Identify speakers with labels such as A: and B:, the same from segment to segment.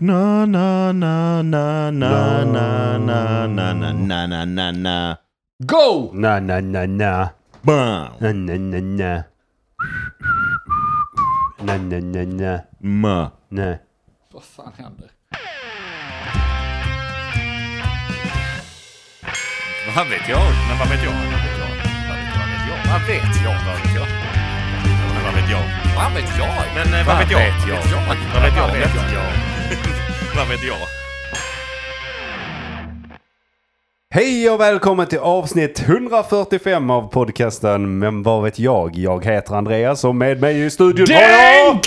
A: Na, na, na, na, na, na, na, na, na, na, na, na, na. Go!
B: Na, na, na, na.
A: Bam!
B: Na, na, na, na. Na, na, na, na.
A: Ma.
B: Na.
C: Vad fan händer?
D: Vad vet jag? Men vad vet jag? Vad vet jag? Vad vet jag? Vad vet jag? Men vad vet jag?
C: Vad vet jag?
D: Men eh, vad vet jag? Vad vet jag? Vad vet jag?
B: Hej och välkommen till avsnitt 145 av podcasten Men vad vet jag? Jag heter Andreas och med mig i studion har jag...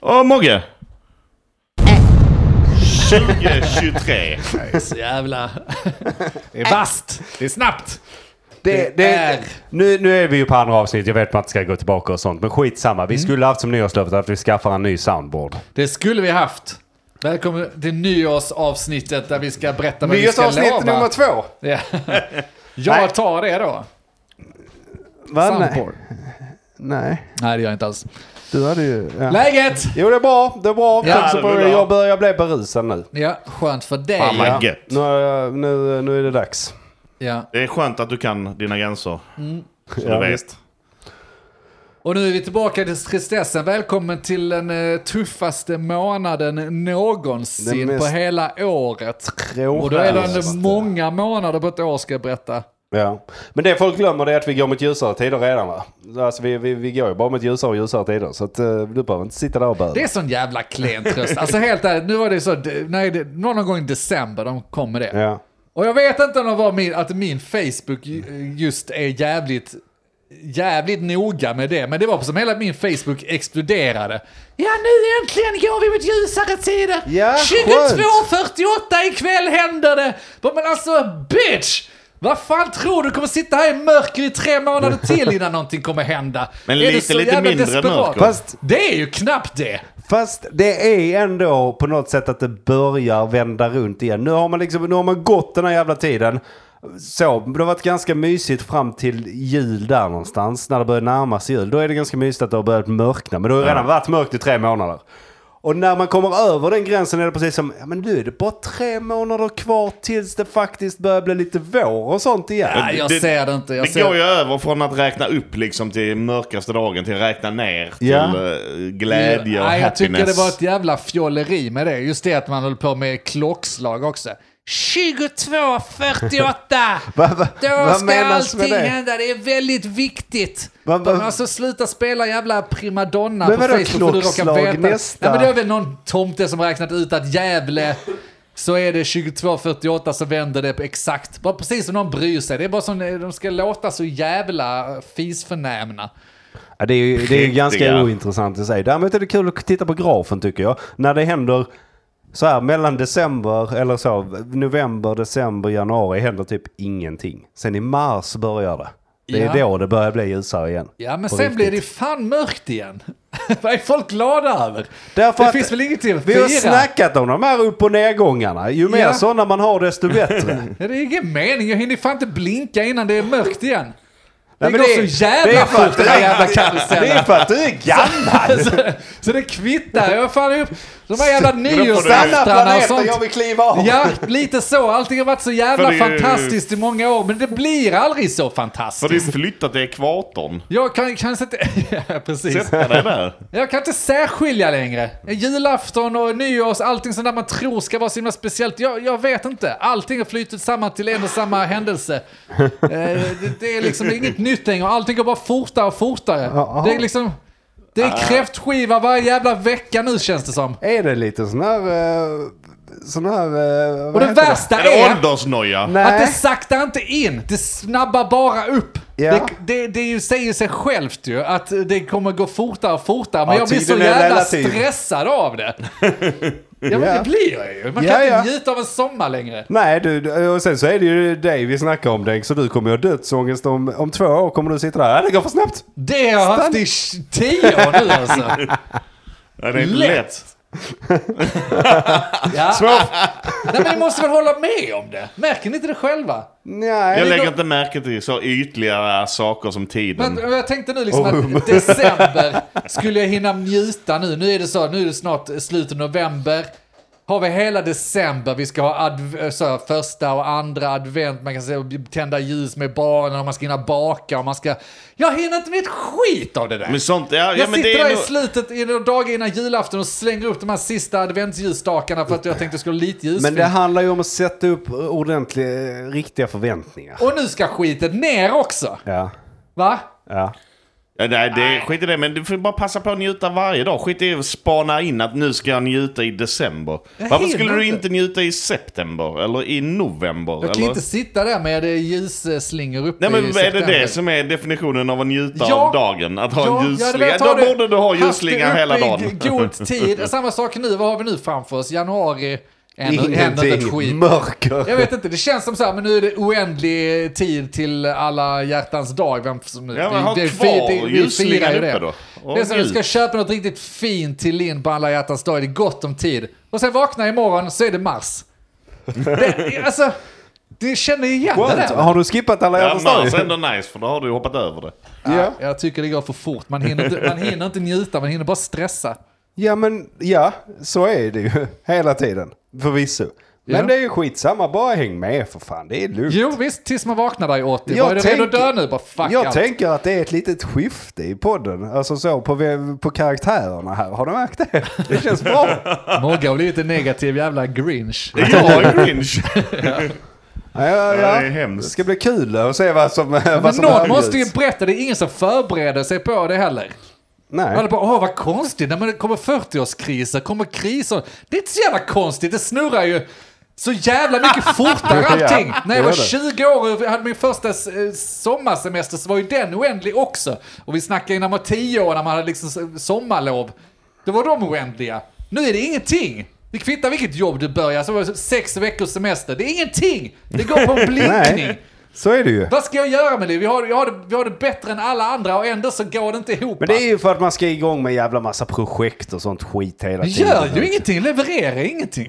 A: Och Mogge. 2023.
C: Så jävla...
A: Det är vasst. Det är snabbt.
B: Det, det är... Nu, nu är vi ju på andra avsnitt, jag vet att man inte ska gå tillbaka och sånt. Men skitsamma, vi skulle haft som nyårslöfte att vi skaffar en ny soundboard.
C: Det skulle vi haft. Välkommen till nyårsavsnittet där vi ska berätta vad vi ska lova.
B: Nyårsavsnitt nummer två!
C: Ja.
B: Nej.
C: Jag tar det då.
B: Va? Nej.
C: Soundboard.
B: Nej,
C: Nej, det gör jag inte alls.
B: du hade ju... Ja.
C: Läget!
B: Jo, det är bra. Det är bra.
C: Ja,
B: Tack så
C: det
B: bra.
D: blir bra.
B: Jag börjar bli berusad nu.
C: Ja, skönt för dig.
A: Fan, vad
C: ja.
A: gött.
B: Nu, har jag- nu, nu är det dags.
C: Ja.
A: Det är skönt att du kan dina gränser.
C: Mm.
A: Så
B: Ja,
A: du vet.
B: visst.
C: Och nu är vi tillbaka till tristessen. Välkommen till den eh, tuffaste månaden någonsin
B: Den mest-
C: på hela året.
B: Råraste.
C: Och då är det ändå många månader på ett år ska jag berätta.
B: Ja. Men det folk glömmer det är att vi går mot ljusare tider redan va? Alltså vi, vi, vi går ju bara mot ljusare och ljusare tider. Så att, eh, du behöver inte sitta där och böla.
C: Det är sån jävla klen tröst. Alltså helt ärligt, nu var det så, d- nej, det, någon gång i december de kom med det.
B: Ja.
C: Och jag vet inte om det var min, att min Facebook ju- just är jävligt, jävligt noga med det. Men det var som hela min Facebook exploderade. Ja, nu äntligen går vi mot ljusare tider!
B: Ja,
C: 22.48 ikväll händer det! Bara, Men alltså, bitch! Vad fan tror du kommer sitta här i mörker i tre månader till innan någonting kommer hända?
A: Men
C: Är du
A: lite,
C: så
A: lite
C: jävla
A: mindre mörker.
B: Fast-
C: Det är ju knappt det!
B: Fast det är ändå på något sätt att det börjar vända runt igen. Nu har man, liksom, nu har man gått den här jävla tiden. Så, det har varit ganska mysigt fram till jul där någonstans. När det börjar närma sig jul. Då är det ganska mysigt att det har börjat mörkna. Men det har ju redan varit mörkt i tre månader. Och när man kommer över den gränsen är det precis som, ja men nu är det bara tre månader kvar tills det faktiskt börjar bli lite vår och sånt igen.
C: Nej, jag
A: det-
C: ser det inte. Jag
A: Det
C: ser...
A: går ju över från att räkna upp liksom till mörkaste dagen till att räkna ner till
B: Ja.
A: eh, glädje och
C: Nej, jag tycker det
A: happiness.
C: var ett jävla fjolleri med det. Just det att man höll på med klockslag också. 22.48!
B: Va- va-
C: Då
B: vad
C: ska
B: menas med
C: allting
B: det?
C: hända, det är väldigt viktigt.
B: Va- va-
C: De alltså sluta spela jävla primadonna
B: Men
C: på
B: vadå
C: Facebook för du råkar
B: klockslag
C: veta.
B: nästa?
C: Nej, men det är väl någon tomte som räknat ut att Gävle så är det 22.48 så vänder det på exakt. Bara precis som någon bryr sig. Det är bara som de ska låta så jävla fisförnämna.
B: Ja, det är ju det är ju ganska
A: Riktiga.
B: ointressant i sig. Däremot är det kul att titta på grafen tycker jag. När det händer så här mellan december eller så, november, december, januari händer typ ingenting. Sen i mars börjar det. Det är
C: Ja.
B: då det börjar bli ljusare igen.
C: Ja, men
B: På
C: sen
B: riktigt.
C: blir det ju fan mörkt igen. Vad är folk glada över?
B: Därför
C: det
B: att
C: finns väl ingenting att
B: Vi har
C: fira?
B: snackat om de här upp och nedgångarna. Ju mer
C: Ja.
B: sådana man har desto bättre.
C: Ja, Det är ingen mening, jag hinner fan inte blinka innan det är mörkt igen. Det
B: Nej, men
C: går
B: det-
C: så jävla
B: det är för
C: fort
B: att
C: den här
B: du-
C: jävla
B: det är
C: karusellen.
B: för att du är gammal!
C: Så, så det kvittar, jag fan upp. De här jävla
B: Stanna
C: nyårsaftrarna och
B: planeten, jag
C: sånt.
B: vill kliva av!
C: Ja, lite så. Allting har varit så
A: För
C: jävla
A: det är ju-
C: fantastiskt i många år, men det blir aldrig så
A: För det
C: fantastiskt.
A: är flyttat till ekvatorn.
C: Jag kan kanske inte... Ja, precis.
A: Sätta dig där.
C: Jag kan inte särskilja längre. Julafton och nyårs, allting sånt där man tror ska vara så himla speciellt. Jag, jag vet inte. Allting har flyttat samman till en och samma händelse. Eh, det, det är liksom det är inget nytt längre. Allting går bara fortare och fortare. Det är liksom... Det är kräftskiva varje jävla vecka nu känns det som.
B: Är det lite sån här... eh, Sån här... eh, vad
C: Och det
B: heter
C: värsta
A: Är det
C: är
A: åldersnoja?
B: Nej.
C: att det saktar inte in. Det snabbar bara upp.
B: Ja.
C: Det, det, det är ju, säger sig självt ju att det kommer gå fortare och fortare. Men
B: Ja,
C: jag blir så
B: tiden är
C: jävla
B: relativ.
C: stressad av det. Ja, men det
B: Ja.
C: blir jag ju. Man
B: Ja,
C: kan
B: ja.
C: inte njuta av en sommar längre.
B: Nej, du, du- och sen så är det ju dig vi snackar om Denk, så du kommer ju ha dödsångest om, om två år kommer du sitta där. Ja, det går för snabbt!
C: Det har jag haft i tio år nu alltså.
A: Nej, det är inte
C: Lätt.
A: lätt.
C: Ja. Nej, men ni måste väl hålla med om det? Märker ni inte det själva?
B: Nej.
A: Jag lägger
C: går-
A: inte märke till så ytliga saker som tiden.
C: Men jag tänkte nu liksom
A: Oh.
C: att december skulle jag hinna njuta nu. Nu är det så, nu är det snart slutet av november. har vi hela december, vi ska ha adv- så här, första och andra advent, man kan säga, tända ljus med barnen, och man ska hinna baka och man ska... Jag hinner inte med ett skit av det där!
A: Men sånt, ja, ja
C: jag
A: men
C: sitter
A: det är
C: där i
A: nog...
C: slutet, i några dagar innan julafton och slänger upp de här sista adventsljusstakarna för att jag tänkte det skulle ha lite ljus.
B: Men det handlar ju om att sätta upp ordentliga, riktiga förväntningar.
C: Och nu ska skiten ner också!
B: Ja,
C: Va?
B: ja.
A: Ja, nej, det, skit i det. Men du får bara passa på att njuta varje dag. Skit i att spana in att nu ska jag njuta i december.
C: Jag
A: Varför
C: hinner
A: skulle du
C: inte.
A: inte njuta i september? Eller i november?
C: Jag kan
A: eller?
C: ju inte sitta där med eh, ljusslingor uppe
A: Nej men
C: i
A: är det
C: september.
A: det som är definitionen av att njuta
C: Ja.
A: av dagen? Att ha
C: Ja,
A: en
C: jag hade
A: ljusslinga?
C: velat
A: Då
C: ha det-
A: borde du ha
C: haft det
A: ljusslinga
C: uppe
A: hela
C: i
A: dagen.
C: g- god tid. Samma sak nu, vad har vi nu framför oss? Januari, än- händer inte ett skit.
B: Ingenting. Mörker.
C: Jag vet inte, det känns som så här, men nu är det oändlig tid till alla hjärtans dag. Vem som nu...
A: Ja, men ha
C: det- det-
A: kvar
C: det- vi
A: ljusslingan
C: firar ju
A: uppe
C: det.
A: då. Och
C: Det är som du ska
A: njut.
C: köpa något riktigt fint till Linn på alla hjärtans dag, det är gott om tid. Och sen vakna imorgon så är det mars. Det, alltså, du känner ju igen det
B: Skönt.
C: där.
B: Har du skippat alla
A: Ja,
B: jävla
A: mars är
B: stadier?
A: ändå nice för då har du hoppat över det.
B: Ja.
C: Jag tycker det går för fort. Man hinner, inte, man hinner inte njuta, man hinner bara stressa.
B: ja, men ja, så är det ju hela tiden. Förvisso. Men
C: Ja.
B: det är ju skitsamma, bara häng med för fan. Det är lugnt.
C: Jo visst, tills man vaknar där i 80. Jag är du redo att dö nu? Bara fuck
B: jag
C: allt.
B: tänker att det är ett litet skifte i podden. Alltså så på, ve- på karaktärerna här. Har du märkt det? Det känns bra.
C: Mogge har blivit en negativ jävla grinch.
A: Det är jag är cringe.
B: Ja, ja,
A: det
B: ja.
A: är
B: Det
A: hemskt.
B: ska bli kul att se vad som
C: Men
B: vad som
C: någon
B: högljuds.
C: måste ju berätta, det är ingen som förbereder sig på det heller.
B: Nej.
C: Alla bara, åh vad konstigt, när det kommer 40-årskriser, kommer kriser. Det är inte så jävla konstigt, det snurrar ju så jävla mycket fortare allting.
B: Ja,
C: När jag
B: det
C: var
B: är det.
C: 20 år och hade min första eh, sommarsemester så var ju den oändlig också. Och vi snackade ju när man var 10 år, när man hade liksom sommarlov. Då var de oändliga. Nu är det ingenting. Det kvittar vilket jobb du börjar, så var det sex veckors semester. Det är ingenting! Det går på en blinkning.
B: Nej. Så är det ju.
C: Vad ska jag göra med det? Vi har, jag har det? vi har det bättre än alla andra och ändå så går det inte ihop.
B: Men det är ju för att man ska igång med jävla massa projekt och sånt skit hela tiden.
C: Gör ju ingenting, levererar ingenting.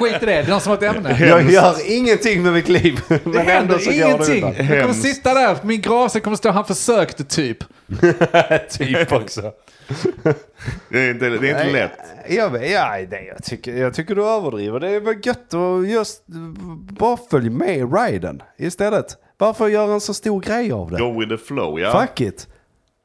C: Skit i det, det är någon som har ett ämne.
B: Jag gör inör med mitt liv. Men
C: Det
B: ändå
C: händer
B: så går det
C: ingenting.
B: undan.
C: Jag kommer sitta där, på min grav så kommer stå han försökte typ.
B: Typ också.
A: Det är inte, det är inte lätt.
B: Jag, vet- ja, det, jag, tycker, jag tycker du överdriver. Det är väl gött att just bara följ med i riden istället. Varför göra en så stor grej av det?
A: Go with the flow, ja.
B: Fuck it.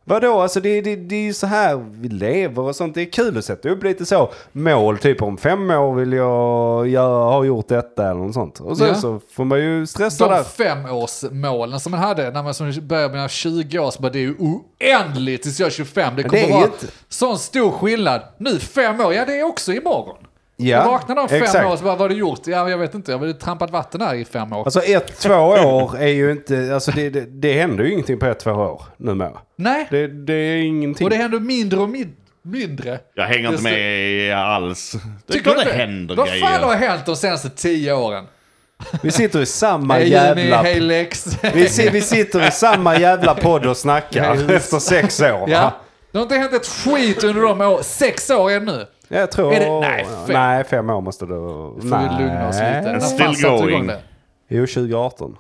B: Vadå, alltså det, det, det är ju så här vi lever och sånt. Det är kul att sätta upp lite så mål, typ om fem år vill jag göra, ha gjort detta eller något sånt. Och sen
C: Ja.
B: så får man ju stressa
C: De
B: där.
C: femårsmålen som man hade när man som började med 20 år, så bara det är ju oändligt tills jag är 25. Det
B: det
C: kommer
B: är ju
C: vara
B: inte-
C: sån stor skillnad. Nu fem år, ja det är också imorgon.
B: Ja,
C: jag vaknar om fem
B: exakt.
C: år så bara, vad har du gjort? Ja, jag vet inte, jag har trampat vatten här i fem år.
B: Alltså ett, två år är ju inte, alltså det, det, det händer ju ingenting på ett, två år numera.
C: Nej,
B: Det, det är ingenting.
C: och det händer mindre och min- mindre.
A: Jag hänger inte
C: Det är så-
A: med alls. Det är klart det händer
C: Vad
A: grejer.
C: fan har hänt de senaste tio åren?
B: Vi sitter i samma
C: Hej Jimmy,
B: jävla...
C: hej Lex.
B: Vi, si- vi sitter i samma jävla podd och snackar efter sex år.
C: ja. Det har inte hänt ett skit under de år, sex år ännu.
B: Jag tror...
C: Är det- nej, fem.
B: nej, fem år måste det vara.
C: Får vi lugna oss lite. När fan
A: still
C: satte du igång
A: going.
C: det?
B: Jo, 2018.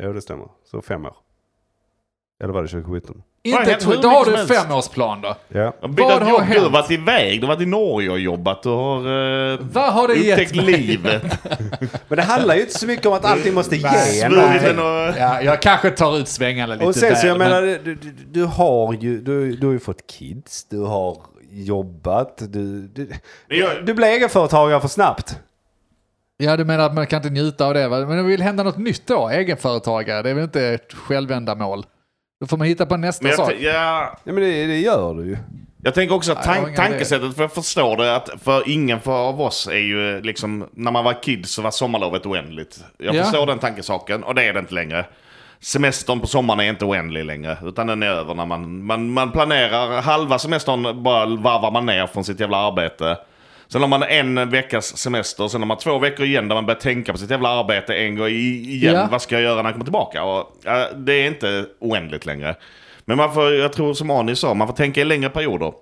B: Jo, det stämmer. Så fem år. Eller var det 2017?
A: Vad har
C: Inte ett
A: hänt
C: skit,
A: hur
C: då har du en
A: mycket som helst?
C: femårsplan då.
B: Ja.
A: Bytt
C: Vad
A: ett jobb, du
C: har
A: har
C: hänt?
A: varit iväg, du har varit i Norge och jobbat, du har eh,
C: Vad har det gett
A: upptäckt livet.
B: Men det handlar ju inte så mycket om att allting måste ge en
A: Svurit
B: någonting.
A: en och...
C: Ja, jag kanske tar ut svängarna lite
B: Och sen så
C: där.
B: jag
C: men
B: menar, du, du, du har ju, du, du har ju fått kids, du har jobbat, du, du,
A: Men jag-
B: du blev egenföretagare för snabbt.
C: Ja, du menar att man kan inte njuta av det. va? Men det vill hända något nytt då, egenföretagare. Det är väl inte ett självändamål. Då får man hitta på nästa
A: Men jag,
C: sak.
A: t- ja,
B: Ja men det, det gör du ju.
A: jag tänker också att
C: Nej, jag har
A: tan-
C: inga
A: tankesättet, för jag förstår det, att för ingen för av oss är ju eh, liksom, när man var kid så var sommarlovet oändligt. Jag
C: Ja.
A: förstår den tankesaken, och det är det inte längre. Semestern på sommaren är inte oändlig längre, utan den är över när man, man, man planerar. Halva semestern bara varvar man ner från sitt jävla arbete. Sen har man en veckas semester, sen har man två veckor igen där man börjar tänka på sitt jävla arbete en gång i- igen.
C: Ja.
A: Vad ska jag göra när jag kommer tillbaka? Och, ja, det är inte oändligt längre. Men man får, jag tror som Ani sa, man får tänka i längre perioder.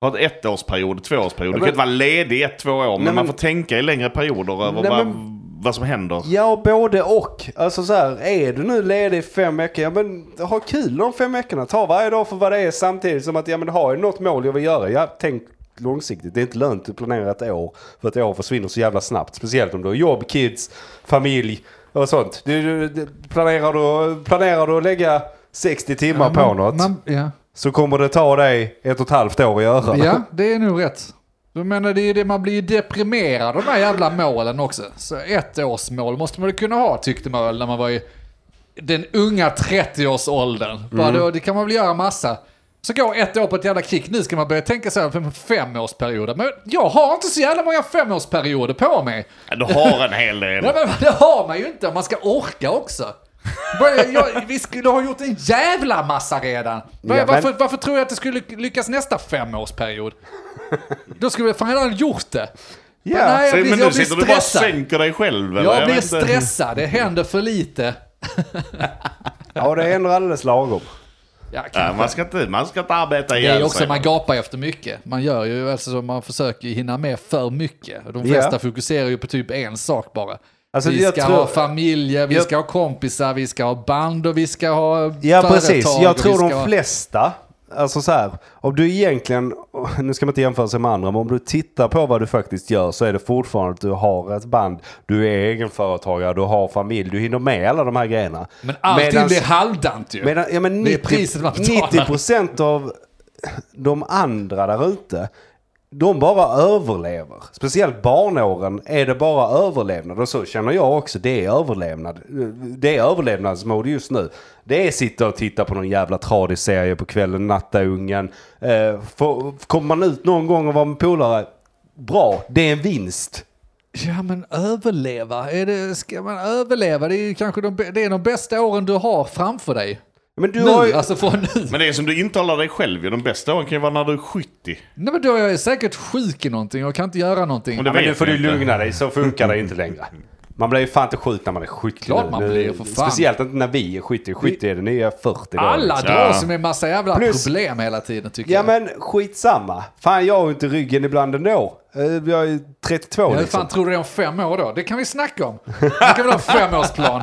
A: Ha ett ettårsperiod, tvåårsperiod. Du
B: men-
A: kan inte vara ledig i ett, två år, men, man
B: Nej, men-
A: får tänka i längre perioder över
B: Nej,
A: vad,
B: men-
A: vad som händer.
B: Ja, både och. Alltså så här, är du nu ledig i fem veckor, ja men ha kul de fem veckorna. Ta varje dag för vad det är samtidigt som att, ja men har jag något mål jag vill göra, ja tänk långsiktigt. Det är inte lönt att planera ett år. För ett år försvinner så jävla snabbt. Speciellt om du har jobb, kids, familj och sånt. Du, du, du, planerar, du, planerar du att lägga 60 timmar
C: Ja,
B: på
C: man-
B: något
C: man- ja.
B: så kommer det ta dig ett och ett halvt år att göra.
C: ja, det är nog rätt. Jag menar, det är ju det, man blir ju deprimerad av de här jävla målen också. Så ett års mål måste man ju kunna ha, tyckte man väl när man var i den unga 30-årsåldern. Bara då, det kan man väl göra massa. Så går ett år på ett jävla kick, nu ska man börja tänka sig för en femårsperiod. Men jag har inte så jävla många femårsperioder på mig.
A: Du har en hel del.
C: Nej men det har man ju inte om man ska orka också. Bara, jag, vi skulle ha gjort en jävla massa redan. Var,
B: Ja, men-
C: varför, varför tror jag att det skulle lyckas nästa femårsperiod? Då skulle vi fan redan gjort det.
B: Ja,
C: Men nej,
A: Så-
C: jag blir,
A: men nu
C: jag blir
A: sitter du bara och
C: stressad.
A: sänker dig själv. eller?
C: Jag blir
A: vet inte.
C: stressad, det händer för lite.
B: Ja, det är ändå alldeles lagom.
C: Ja,
A: Ja,
C: kanske.
A: man, ska inte, man ska inte arbeta
C: Det är
A: ihjäl
C: ju också,
A: sig.
C: man gapar ju efter mycket. Man gör ju, alltså så man försöker ju hinna med för mycket. De
B: Ja.
C: flesta fokuserar ju på typ en sak bara.
B: Alltså,
C: vi
B: jag
C: ska
B: tror-
C: ha familjer, vi
B: jag-
C: ska ha kompisar, vi ska ha band och vi ska ha
B: Ja,
C: företag.
B: precis.
C: och
B: Jag
C: vi
B: tror
C: ska ha-
B: de flesta, alltså så här, om du egentligen, nu ska man inte jämföra sig med andra, men om du tittar på vad du faktiskt gör så är det fortfarande att du har ett band, du är egenföretagare, du har familj, du hinner med alla de här grejerna.
C: Men allting
B: Medans-
C: blir halvdant ju.
B: Medan, ja, men
C: Det är
B: 90,
C: priset man betalar.
B: 90% av de andra där ute, de bara överlever. Speciellt barnåren är det bara överlevnad. Och så känner jag också, det är överlevnad. Det är överlevnadsmode just nu. Det är sitta och titta på någon jävla tradig serie på kvällen, natta ungen. Eh, får- Kommer man ut någon gång och vara med polare, bra, det är en vinst.
C: Ja, men överleva. Är det, ska man överleva? Det är ju kanske de, bä- det är de bästa åren du har framför dig.
B: Men du
C: Nu,
B: har ju...
C: alltså från nu.
A: Men det är som du intalar dig själv ju. De bästa åren kan ju vara när du är 70.
C: Nej, men då är jag säkert sjuk i någonting och kan inte göra någonting.
A: Och
B: Ja, men
A: vet
B: nu får
A: jag
B: du
A: inte.
B: lugna dig, så funkar det inte längre. Man blir ju fan inte sjuk när man är 70
C: Klart
B: nu.
C: man
B: Nu-
C: blir, för fan.
B: Speciellt inte när vi är 70. 70 är det nya 40 då.
C: Alla
A: Ja.
C: dras ju med en massa jävla
B: Plus-
C: problem hela tiden tycker
B: Ja
C: jag.
B: men skitsamma. Fan jag har ju inte ryggen ibland ändå. Eh, Jag är ju 32
C: Ja, Hur
B: liksom.
C: fan tror du det är om fem år då? Det kan vi snacka om. Man kan väl ha en femårsplan.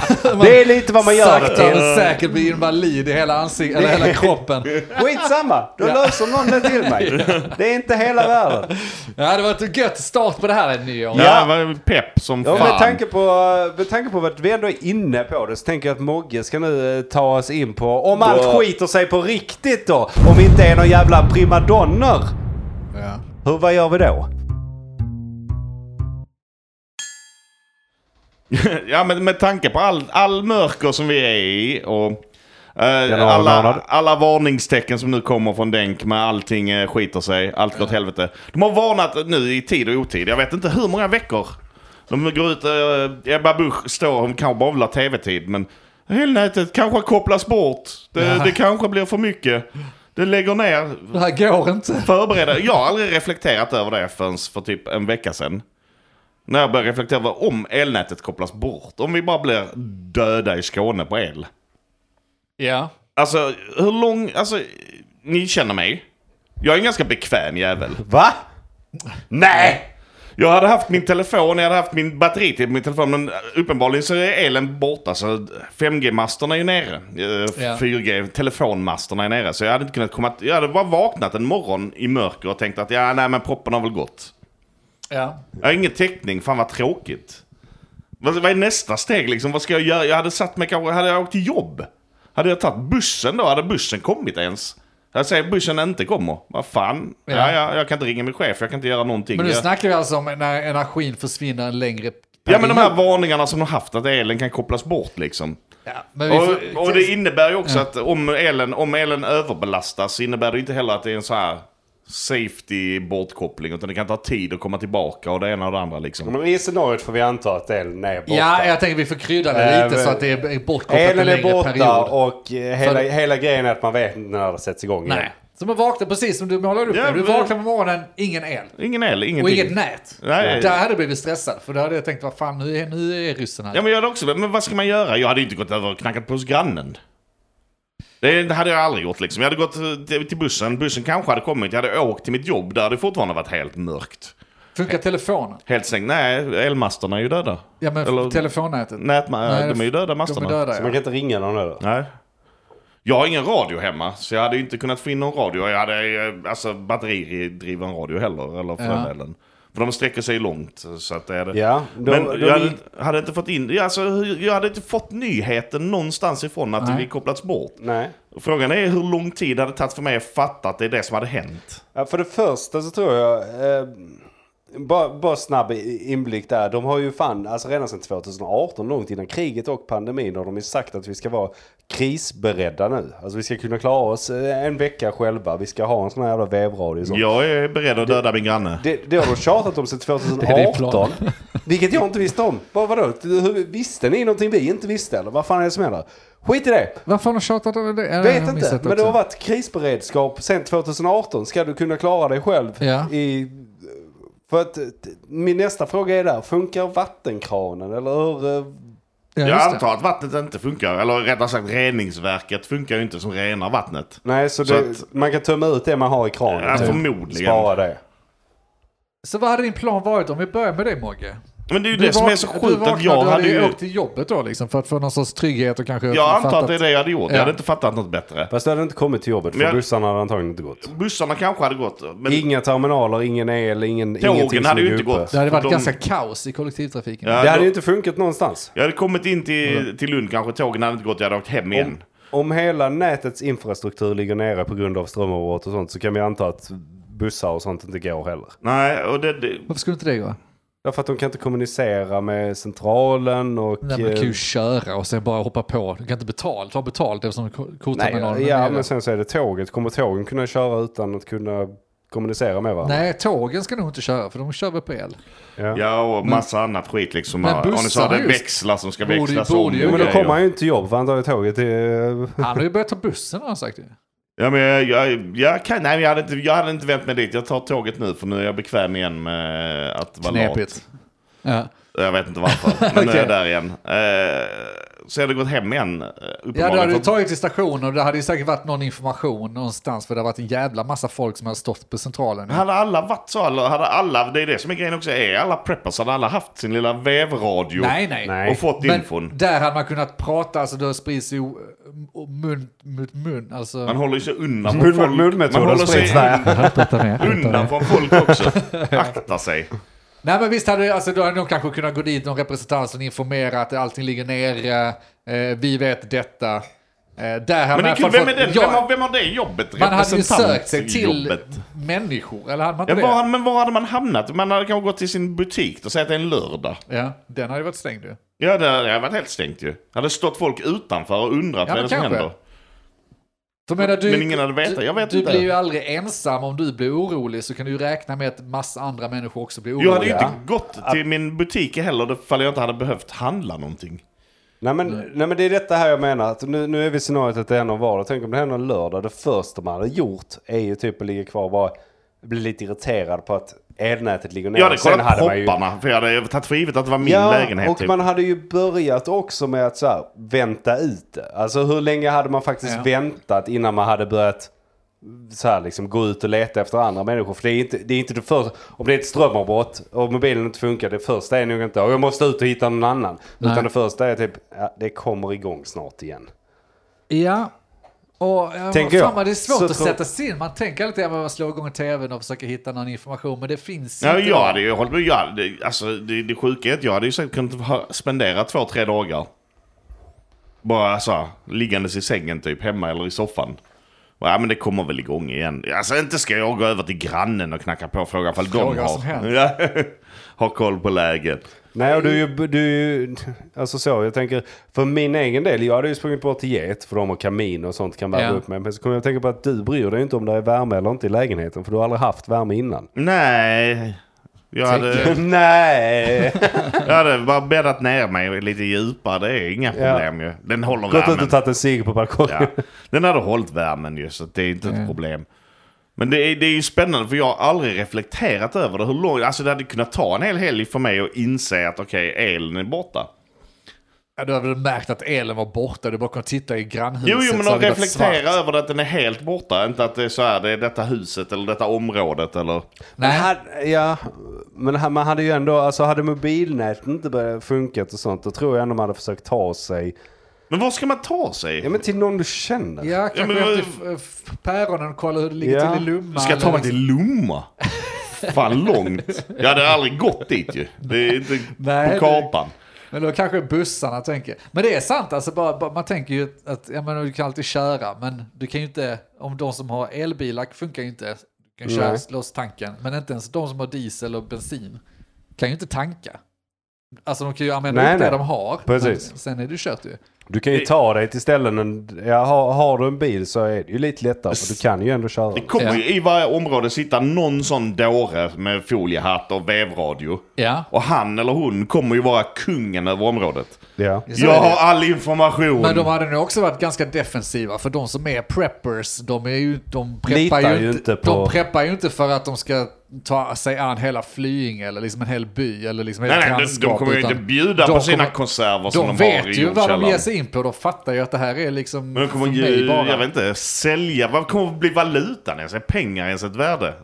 B: Det är lite vad man gör det
C: Sakta
B: till.
C: men säkert blir invalid i hela ansiktet, eller hela kroppen.
B: Skitsamma, då löser någon det till mig. Det är inte hela världen.
C: Ja, det var ett gött start på det här ett nyår.
A: Ja, det var ju pepp som
B: Ja,
A: fan.
B: med, tanke på, eh, med tanke på att vi ändå är inne på det så tänker jag att Mogge ska nu eh, ta oss in på, om allt skiter sig på riktigt då, om vi inte är några jävla primadonner.
C: Ja.
B: Hur, vad gör vi då?
A: ja, men med tanke på all, all mörker som vi är i och eh,
B: Januari månad.
A: alla, alla varningstecken som nu kommer från Denk med allting eh, skiter sig, allt går åt helvete. De har varnat nu i tid och otid, jag vet inte hur många veckor. De går ut, eh, Ebba Busch står, hon kanske bavlar tv-tid, men elnätet kanske kopplas bort. Det, det kanske blir för mycket. Det lägger ner,
C: Det här går inte.
A: förbereda. Jag har aldrig reflekterat över det förrän för typ en vecka sedan. När jag började reflektera över om elnätet kopplas bort. Om vi bara blir döda i Skåne på el.
C: Ja.
A: Alltså hur lång, alltså ni känner mig. Jag är en ganska bekväm jävel.
B: Va? Nej!
A: Jag hade haft min telefon, jag hade haft min batteri till min telefon. Men uppenbarligen så är elen borta. Så 5G-masterna är ju nere. Eh,
C: Ja.
A: 4G, telefonmasterna är nere. Så jag hade inte kunnat komma, jag hade bara vaknat en morgon i mörker och tänkt att ja, nej men proppen har väl gått.
C: Ja.
A: Jag har ingen täckning, fan vad tråkigt. Vad, vad är nästa steg liksom? Vad ska jag göra? Jag hade satt mig kanske, hade jag åkt till jobb? Hade jag tagit bussen då? Hade bussen kommit ens? Jag säger bussen inte kommer. Vad fan? Ja.
C: Ja.
A: Ja, jag kan inte ringa min chef, jag kan inte göra någonting.
C: Men nu
A: jag...
C: snackar vi alltså om när energin försvinner en längre period.
A: Ja men de här varningarna som de haft att elen kan kopplas bort liksom.
C: Ja, men vi får...
A: Och, och det innebär ju också att om elen, om elen överbelastas så innebär det inte heller att det är en så här safety bortkoppling utan det kan ta tid att komma tillbaka och det ena och det andra liksom.
B: Men I scenariot får vi anta att elen är borta.
C: Ja, jag tänker vi får krydda det
B: Eh,
C: lite
B: men-
C: så att det är bortkopplat en
B: Elen
C: längre
B: är borta
C: period.
B: och eh, hela,
C: För-
B: hela grejen är att man vet inte när det sätts igång igen.
C: Nej. Så man vaknar precis som du målar upp
A: Ja,
C: det. Du
A: men-
C: vaknar på morgonen, ingen el.
A: Ingen el,
C: Och
A: ingenting.
C: inget nät.
A: Nej.
C: Där hade jag blivit stressad. För då hade jag tänkt, vad fan, nu är, nu är ryssen här.
A: Ja men jag hade också, men vad ska man göra? Jag hade inte gått över och knackat på hos grannen. Det hade jag aldrig gjort liksom. Jag hade gått eh, till till bussen, bussen kanske hade kommit, jag hade åkt till mitt jobb, där hade det fortfarande varit helt mörkt.
C: Funkar telefonen?
A: Helt stängt. Nej, elmasterna är ju döda.
C: Ja, men
A: Eller-
C: telefonnätet.
A: Nätma-
C: Nej,
A: de är ju döda
C: De
A: masterna.
C: är döda,
B: Så
C: ja.
B: man kan inte ringa någon eller?
A: Nej. Jag har ingen radio hemma, så jag hade ju inte kunnat få in någon radio. Jag hade eh, alltså, batteridriven radio heller, eller för den
C: Ja.
A: delen. För de sträcker sig långt. Så att det är det.
B: Ja, de-
A: Men
B: de-
A: jag hade, hade inte fått in, alltså, jag hade inte fått nyheten någonstans ifrån att
C: Nej.
A: vi kopplats bort.
B: Nej.
A: Frågan är hur lång tid det hade tagit för mig att fatta att det är det som hade hänt.
B: Ja, för det första så tror jag... Eh, bara, bara snabb i- inblick där. De har ju fan, alltså redan sedan 2018, långt innan kriget och pandemin, har de ju sagt att vi ska vara krisberedda nu. Alltså vi ska kunna klara oss eh, en vecka själva. Vi ska ha en sån här jävla vevradio. Som
A: Jag är beredd att döda min granne.
B: Det, det har de tjatat om sedan
C: är din plan.
B: 2018. Vilket jag inte visste om. Bara vadå? Hur- Visste ni någonting vi inte visste? Eller vad fan är det som händer? Skit i det!
C: Varför har de tjatat om det? Jag
B: Vet
C: har
B: inte,
C: missat
B: men det har
C: också.
B: varit krisberedskap sedan 2018. Ska du kunna klara dig själv?
C: Ja.
B: I, för att, eh, min nästa fråga är där, funkar vattenkranen? Eller hur? eh,
C: Ja,
A: Jag
C: just det.
A: antar att vattnet inte funkar, eller rättare sagt reningsverket funkar ju inte som renar vattnet.
B: Nej, så,
A: Så
B: det,
A: att-
B: man kan tömma ut det man har i kranen. typ.
A: Ja, förmodligen.
B: Spara det.
C: Så vad hade din plan varit om vi börjar med det Mogge?
A: Men det är ju det som är så
C: du
A: sjukt
C: vaknade,
A: att jag
C: du
A: hade ju...
C: åkt till jobbet då liksom för att få någon sorts trygghet och kanske...
A: Jag antar att
C: fattat-
A: det är det jag hade gjort, jag
C: Ja.
A: hade inte fattat något bättre.
B: Fast du hade inte kommit till jobbet för
A: Men jag-
B: bussarna hade antagligen inte gått.
A: Bussarna kanske hade gått, men
B: Inga terminaler, ingen el, ingen, ingenting som
A: hade ju
B: ligger
A: inte
B: uppe.
A: gått.
C: Det hade varit
A: De-
C: ganska kaos i kollektivtrafiken.
A: Ja.
B: Det hade ju inte funkat någonstans.
A: jag hade kommit in till, till Lund kanske, tågen hade inte gått, jag hade åkt hem igen.
B: Om hela nätets infrastruktur ligger nere på grund av strömavbrott och sånt så kan vi anta att bussar och sånt inte går heller.
A: Nej, och det, det,
C: Varför skulle inte det gå?
B: Därför att de kan inte kommunicera med centralen och...
C: Nej, men du kan
B: eh,
C: ju köra och sen bara hoppa på. Du kan inte betala, ta betalt eftersom ko-
B: nej,
C: kortterminalen är
B: ja,
C: nere.
B: men sen så är det tåget. Kommer tågen kunna köra utan att kunna kommunicera med varandra?
C: Nej, tågen ska nog inte köra för de kör väl på el.
B: Ja.
A: ja, och massa annat skit liksom.
C: Men
A: Ja, och ni sa
C: bussarna
A: det är
C: just-
A: växlar som ska
C: Borde ju-
A: växlas om.
C: borde ju-
A: och
B: Men då
A: grejer.
B: kommer han ju inte till jobb för han tar ju tåget till...
C: Han har ju börjat ta bussen har han sagt ju.
A: Ja, men jag, jag, jag, kan, nej, men jag, hade inte, jag hade inte vänt mig dit. Jag tar tåget nu för nu är jag bekväm igen med att vara lat.
C: Knepigt. Ja.
A: Jag vet inte varför, men nu är jag
C: Okej.
A: där igen. Eh, så jag hade gått hem igen. eh,
C: Ja,
A: uppenbarligen.
C: du hade ju tagit till stationen och det hade ju säkert varit någon information någonstans för det har varit en jävla massa folk som har stått på centralen.
A: Hade alla varit så? Eller hade alla, det är det som är grejen också. Är alla preppers? Hade alla haft sin lilla vävradio?
C: Nej, nej.
B: Nej.
A: Och fått
C: Men
A: infon?
C: där hade man kunnat prata, alltså då sprids ju o- o- mun mot mun. Alltså,
A: Man håller sig undan
B: Mun-
A: folk.
B: munmetoden
A: Man håller sig
B: sprids där.
A: undan från folk också. Akta sig.
C: Nej men visst hade alltså, då hade de kanske kunnat gå dit någon representant som informerar att allting ligger nere, eh, vi vet detta. Eh,
A: Men
C: där hade
A: det är
C: man
A: kul,
C: i alla
A: vem,
C: fall
A: är den,
C: fått- Ja,
A: vem, har, vem har det jobbet?
C: Man hade ju sökt sig till
A: Representantjobbet.
C: människor, eller hade man
A: Ja,
C: inte
A: var, men var hade man hamnat? Man hade kanske gått till sin butik och sagt att det är en lördag.
C: det? Ja, den hade ju varit stängd ju.
A: Ja, det hade varit helt stängt ju. Hade stått folk utanför och undrat
C: Ja,
A: vad är
C: men
A: det som
C: kanske.
A: händer.
C: För menar, du,
A: Men ingen hade vetat, jag vet
C: du,
A: inte.
C: Du blir ju aldrig ensam om du blir orolig så kan du ju räkna med att massa andra människor också blir
A: Jag hade ju
C: oroliga.
A: inte gått till min butik heller ifall jag inte hade behövt handla någonting.
B: Nej men, nej men det är detta här jag menar. Att nu, nu är vi i scenariot att det händer en vardag. Tänk om det händer en lördag. Det första man hade gjort är ju typ att ligga kvar och bara bli lite irriterad på att elnätet ligger ner.
A: Jag hade
B: Sen
A: kollat
B: man ju-
A: propparna, för jag hade tagit för givet att det var min
B: ja,
A: lägenhet.
B: och
A: typ.
B: man hade ju börjat också med att så här, vänta ut det. Alltså hur länge hade man faktiskt
C: Ja.
B: väntat innan man hade börjat så här, liksom, gå ut och leta efter andra människor? För det är inte det, är inte det första. Om det är ett strömavbrott och mobilen inte funkar, det första är nog inte "Åh, jag måste ut och hitta någon annan. Utan det första är typ ja, det kommer igång snart igen.
C: Ja. Och, ja,
B: Tänker
C: Tänker
B: jag.
C: fan, vad Det är svårt
B: Så
C: att
B: tror-
C: sätta sig in. Man tänker alltid att man slår igång tvn och försöker hitta någon information, men det finns
A: Ja,
C: inte.
A: jag hade ju hållit med. Jag hade, alltså, det, det sjuka är att jag hade ju säkert kunnat ha- spendera två, tre dagar. Bara så här, liggandes i sängen typ, hemma eller i soffan. Och, Ja men det kommer väl igång igen. Alltså inte ska jag gå över till grannen och knacka på och fråga ifall de
C: Fråga
A: har,
C: som helst.
A: Ja, har koll på läget.
B: Nej, och du, är ju- du, är ju- alltså så, jag tänker, för min egen del, jag hade ju sprungit bort till get, för de har kamin och sånt kan värma
C: Ja.
B: upp med. Men så kommer jag att tänka på att du bryr dig inte om det är värme eller inte i lägenheten, för du har aldrig haft värme innan.
A: Nej, jag hade,
B: Nej!
A: jag hade bara bäddat ner mig lite djupare. Det är inga problem ju. Den håller
B: Gått ut
A: värmen.
B: och tagit en cigg på balkongen.
A: Ja. Den hade hållit värmen ju, så det är inte ett problem. Men det är, det är ju spännande för jag har aldrig reflekterat över det. Hur lång, alltså det hade kunnat ta en hel helg för mig att inse att okej, elen är borta.
C: Ja, du hade väl märkt att elen var borta, du bara kunde titta i grannhuset.
A: Jo, jo men
C: så
A: att
C: hade det varit
A: reflektera
C: svart.
A: över det, att den är helt borta. Inte att det är så här, det är detta huset eller detta området eller...
B: Men,
C: Nej.
B: hade, ja, men ha- man hade ju ändå, alltså hade mobilnätet inte börjat funka och sånt, då tror jag ändå man hade försökt ta sig
A: Men var ska man ta sig?
B: Ja men till någon du känner.
C: Ja, kanske
A: men
C: ja,
A: vad-
C: till f- f- päronen och kolla hur det ligger
B: Ja.
C: till i Lomma.
A: Du ska ta mig
C: eller-
A: till Lomma. Fan långt. Jag hade aldrig gått dit ju. Det är inte
C: Nej, det-
A: på kartan.
C: Men då kanske bussarna tänker. Men det är sant, alltså bara, bara, man tänker ju att ja, men du kan alltid köra, men du kan ju inte, om de som har elbilar funkar ju inte, du kan köra,
B: Nej.
C: slåss tanken, men inte ens de som har diesel och bensin kan ju inte tanka. Alltså de kan ju använda
B: Nej,
C: upp det
B: nej.
C: de har,
B: Precis.
C: men sen är det kört ju.
B: Du kan ju ta dig till ställen. än- Ja, har, har du en bil så är det ju lite lättare. För du kan ju ändå köra.
A: Det kommer
C: Ja.
A: ju i varje område sitta någon sån dåre med foliehatt och vevradio.
C: Ja,
A: Och han eller hon kommer ju vara kungen över området.
B: Ja.
C: Så är
A: jag
C: det.
A: har all information.
C: men de hade nog också varit ganska defensiva, för de som är preppers, de, är ju, de, preppar,
B: Litar
C: ju
B: ju
C: inte,
B: inte på-
C: de preppar ju inte för att de ska ta sig an hela Flyinge eller liksom en hel by eller liksom
A: nej,
C: ett
A: nej, de, de
C: grannskap,
A: kommer ju
C: utan
A: inte bjuda
C: de
A: på sina
C: kommer-
A: konserver som
C: De,
A: de, har
C: vet
A: i
C: ju vad de
A: jordkällaren.
C: ger sig in på. De fattar ju att det här är liksom
A: Men de kommer
C: för mig
A: ju,
C: bara.
A: jag vet inte, sälja. Vad kommer bli valutan ens? Är pengar ens ett värde?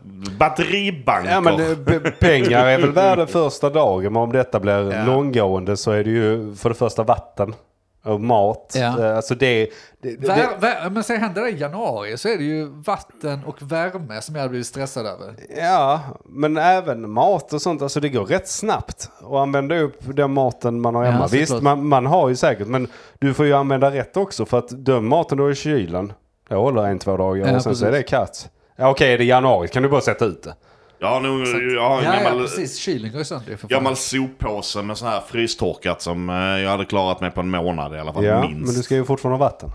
A: Batteribanker?
B: Ja men eh, p- pengar är väl värda första dagen. Men om detta blir
C: Ja.
B: långgående så är det ju för det första vatten. Och mat.
C: Ja.
B: Eh, Alltså det, det, det,
C: Vär, vär, men sen händer det i januari så är det ju vatten och värme som jag hade blivit stressad över.
B: Ja, men även mat och sånt. Alltså det går rätt snabbt att använda upp den maten man har
C: Ja,
B: hemma.
C: såklart.
B: Visst, man, man har ju säkert, men du får ju använda rätt också. För att den maten du har i kylen, det håller en, två dagar
C: Ja,
B: och sen så är
C: precis.
B: det katt. Ja, okej, är det januari kan du bara sätta ut det.
A: Ja, nu, jag har
C: Ja,
A: en
C: ja,
A: gammal,
C: precis. Kylen går ju sönder. För fan.
A: gammal soppåse med sån här frystorkat som eh, jag hade klarat mig på en månad i alla fall,
B: Ja, men
A: minst.
B: du ska ju fortfarande ha vatten.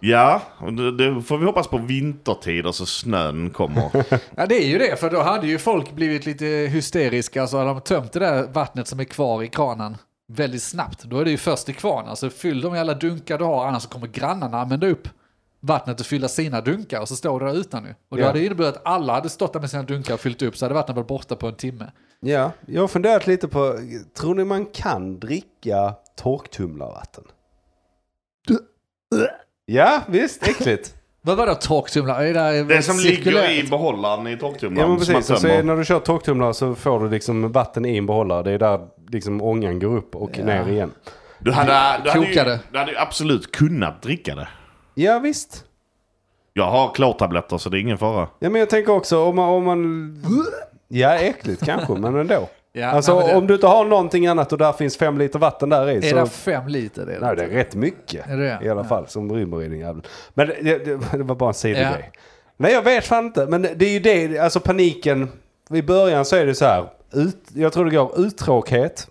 A: Ja, och det, det får vi hoppas på vintertider så snön kommer.
C: Ja, det är ju det, för då hade ju folk blivit lite hysteriska så hade de tömt det där vattnet som är kvar i kranen väldigt snabbt. Då är det ju först i kvarnen, så fyll de alla dunkar du har, annars kommer grannarna använda upp vattnet och fylla sina dunkar och så står det där utan nu. Och då
B: Ja.
C: hade det inneburit att alla hade stått där med sina dunkar och fyllt upp så hade vattnet varit borta på en timme.
B: Ja, jag har funderat lite på, tror ni man kan dricka torktumlarvatten? Ja, visst, äckligt.
C: Vad var det torktumlare? Är det,
A: Det som
C: cirkulärt?
A: ligger i behållaren i torktumlaren
B: Ja men
A: som man
B: precis,
A: tömmer.
B: alltså, när du kör torktumlare så får du liksom vatten i en behållare. Det är där liksom ångan går upp och
C: Ja.
B: ner igen.
A: Du hade, du, hade ju,
C: Kokade.
A: du hade ju absolut kunnat dricka det.
B: Ja visst.
A: Jag har klortabletter så det är ingen fara.
B: Ja men jag tänker också om man... Om man ja äckligt kanske, men ändå.
C: Ja,
B: alltså
C: nej, men det-
B: om du inte har någonting annat och där finns fem liter vatten där i
C: Är
B: så...
C: det fem liter? Det är det.
B: Nej det är rätt mycket
C: Är det det?
B: i alla fall som rymmer i den jäveln. Men det, det, det var bara en sidogrej.
C: Ja.
B: Nej jag vet fan inte, men det är ju det, alltså paniken. I början så är det så här, ut, jag tror det går uttråkighet.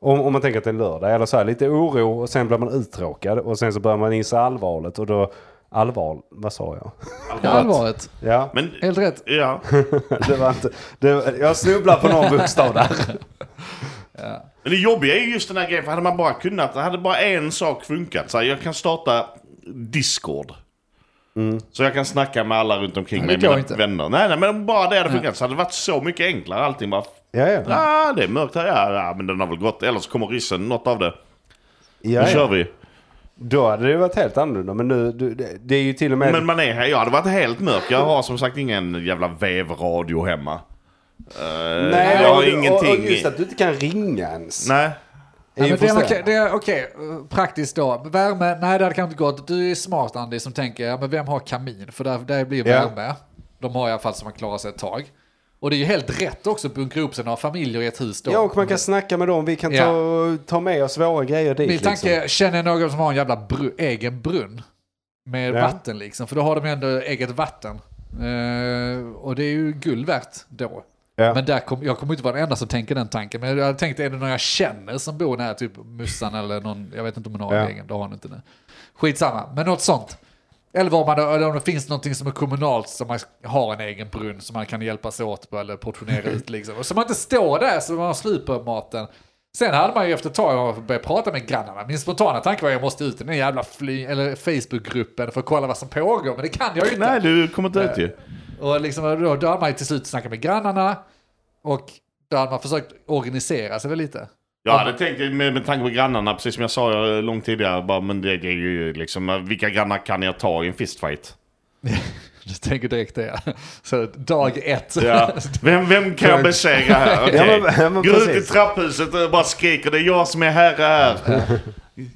B: Om, om man tänker att det är lördag, eller så här lite oro och sen blir man uttråkad och sen så börjar man inse allvaret och då... Allvar, vad sa jag?
C: Ja, Allvaret.
B: Ja,
A: Men,
C: Helt rätt.
A: ja.
B: det var inte... Det, var- jag snubblar på någon bokstav där.
A: Men det jobbiga är ju just den här grejen, för hade man bara kunnat, hade bara en sak funkat. Så här, jag kan starta Discord. Så jag kan snacka med alla runt omkring
C: Nej,
A: mig,
C: det går
A: mina
C: inte.
A: vänner. Nej, nej, men om bara det hade funkat så hade det varit så mycket enklare. Allting bara,
B: Ja, ja. ja,
A: ah, det är mörkt här, ja, ja, men den har väl gått. Eller så kommer ryssen, något av det. Nu
B: ja.
A: kör vi.
B: Då hade det varit helt annorlunda, men nu... du- Det, det är ju till och med...
A: Men man är här, jag hade varit helt mörk. Jag har som sagt ingen jävla vevradio hemma. Eh,
B: Nej,
A: jag har
B: och, du-
A: ingenting.
B: Och, och just att du inte kan ringa ens.
A: Nej.
B: är
C: Ja,
B: ju
C: men det man kan-
B: frustrerande.
C: det är okej, eh, praktiskt då. Värme, nej det hade kanske inte gått. Du är smart Andy som tänker, ja, men vem har kamin? För där, där blir
B: Ja.
C: värme. De har i alla fall så man klarar sig ett tag. Och det är ju helt rätt också att bunkra upp sig några familjer i ett hus då.
B: Ja, och man kan snacka med dem. Vi kan
C: Ja.
B: ta, ta med oss våra grejer dit. liksom.
C: Min tanke, är, känner jag någon som har en jävla bru- egen brunn med
B: Ja.
C: vatten liksom? För då har de ändå eget vatten. Eh, och det är ju guld värt då.
B: Ja.
C: Men där kom, jag kommer inte vara den enda som tänker den tanken. Men jag hade tänkt, är det någon jag känner som bor nära typ Mussan eller någon, jag vet inte om hon har
B: Ja.
C: en egen, det har hon inte nu. Skitsamma, men något sånt. Eller om, man, eller om det finns någonting som är kommunalt som man har en egen brunn som man kan hjälpas åt på eller portionera ut liksom. Och så man inte står där så man har slut på maten. Sen hade man ju efter ett tag börjat prata med grannarna. Min spontana tanke var att jag måste ut i den jävla fly, eller Facebookgruppen för att kolla vad som pågår. Men det kan jag ju inte.
A: Nej, du kommer inte ut ju.
C: Och liksom, då, då hade man ju till slut snackat med grannarna och då hade man försökt organisera sig väl lite.
A: Jag hade tänkt med, med tanke på grannarna, precis som jag sa eh, långt tidigare, bara, men det, det är ju liksom, eh, vilka grannar kan jag ta i en fistfight?
C: Du tänker direkt det. Så dag ett.
A: Ja. Vem, vem kan jag besegra här? Okej.
B: Ja, men- ja, men
A: Går ut i
B: precis.
A: trapphuset och bara skriker, det är jag som är herre här.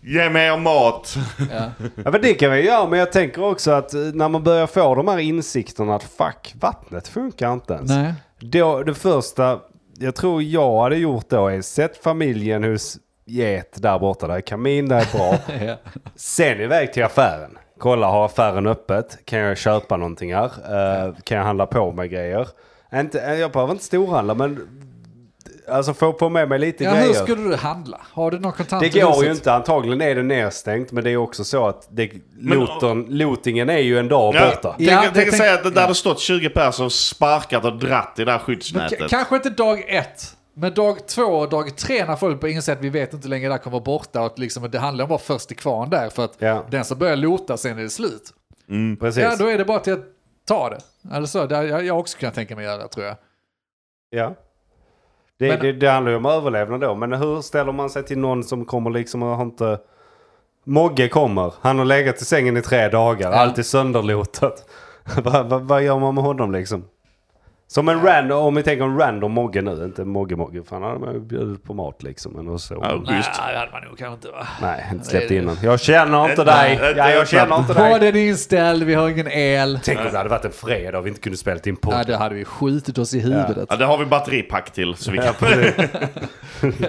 A: Ge mig er mat.
C: Ja.
B: Ja, men det kan vi göra, men jag tänker också att eh, när man börjar få de här insikterna att fuck, vattnet funkar inte ens.
C: Nej.
B: Då, det första jag tror jag hade gjort då är sett familjen hos get där borta, där är kamin, där är bra.
C: Ja.
B: Sen iväg till affären. Kolla, har affären öppet? Kan jag köpa någonting här? Eh, kan jag handla på mig grejer? Inte, eh, jag behöver inte storhandla, men alltså få på med mig lite
C: Ja,
B: grejer.
C: hur skulle du handla? Har du någon kontant
B: Det
C: i
B: går
C: huset?
B: ju inte, antagligen är det nedstängt, men det är också så att det,
A: Men-
B: loten, lotingen är ju en dag borta.
A: Tänk,
C: Ja,
A: tänk,
C: det tänk-
A: säga att det där
C: ja.
A: hade stått 20 personer och sparkat och dratt i det där
C: Men k-
A: skyddsnätet.
C: kanske inte dag ett, men dag två och dag tre när folk börjar inse att vi vet inte hur länge det här kommer vara borta och att liksom, det handlar om att vara först i kvarn där för att
B: Ja.
C: den som börjar lota sen är det slut.
B: Precis.
C: Ja, då är det bara till att ta det. Eller så, det, jag, jag också kan tänka mig göra det tror jag.
B: Ja. Det,
C: Men-
B: det, det handlar ju om överlevnad då. Men hur ställer man sig till någon som kommer liksom och har inte... Mogge kommer. Han har legat i sängen i tre dagar.
C: Ja.
B: Allt är sönderlotat. vad, vad, vad gör man med honom liksom? Som en random, om vi tänker en random Mogge nu. Inte Mogge-Mogge. För han hade man ju bjudit på mat liksom. Eller så.
A: Ja, schysst.
C: Nej, det hade man nog kanske inte va?
B: Nej, inte
C: Nej,
B: släppt
C: det-
B: innan. Jag känner inte dig.
A: Nej,
B: Ja, jag känner inte dig.
C: Podden är inställd, vi har ingen el.
B: Tänk om det hade varit en fredag och vi inte kunde spela in podd.
C: Nej, det hade vi skjutit oss i huvudet.
A: Ja, det har vi batteripack till. Så vi, kan,
B: Ja, precis.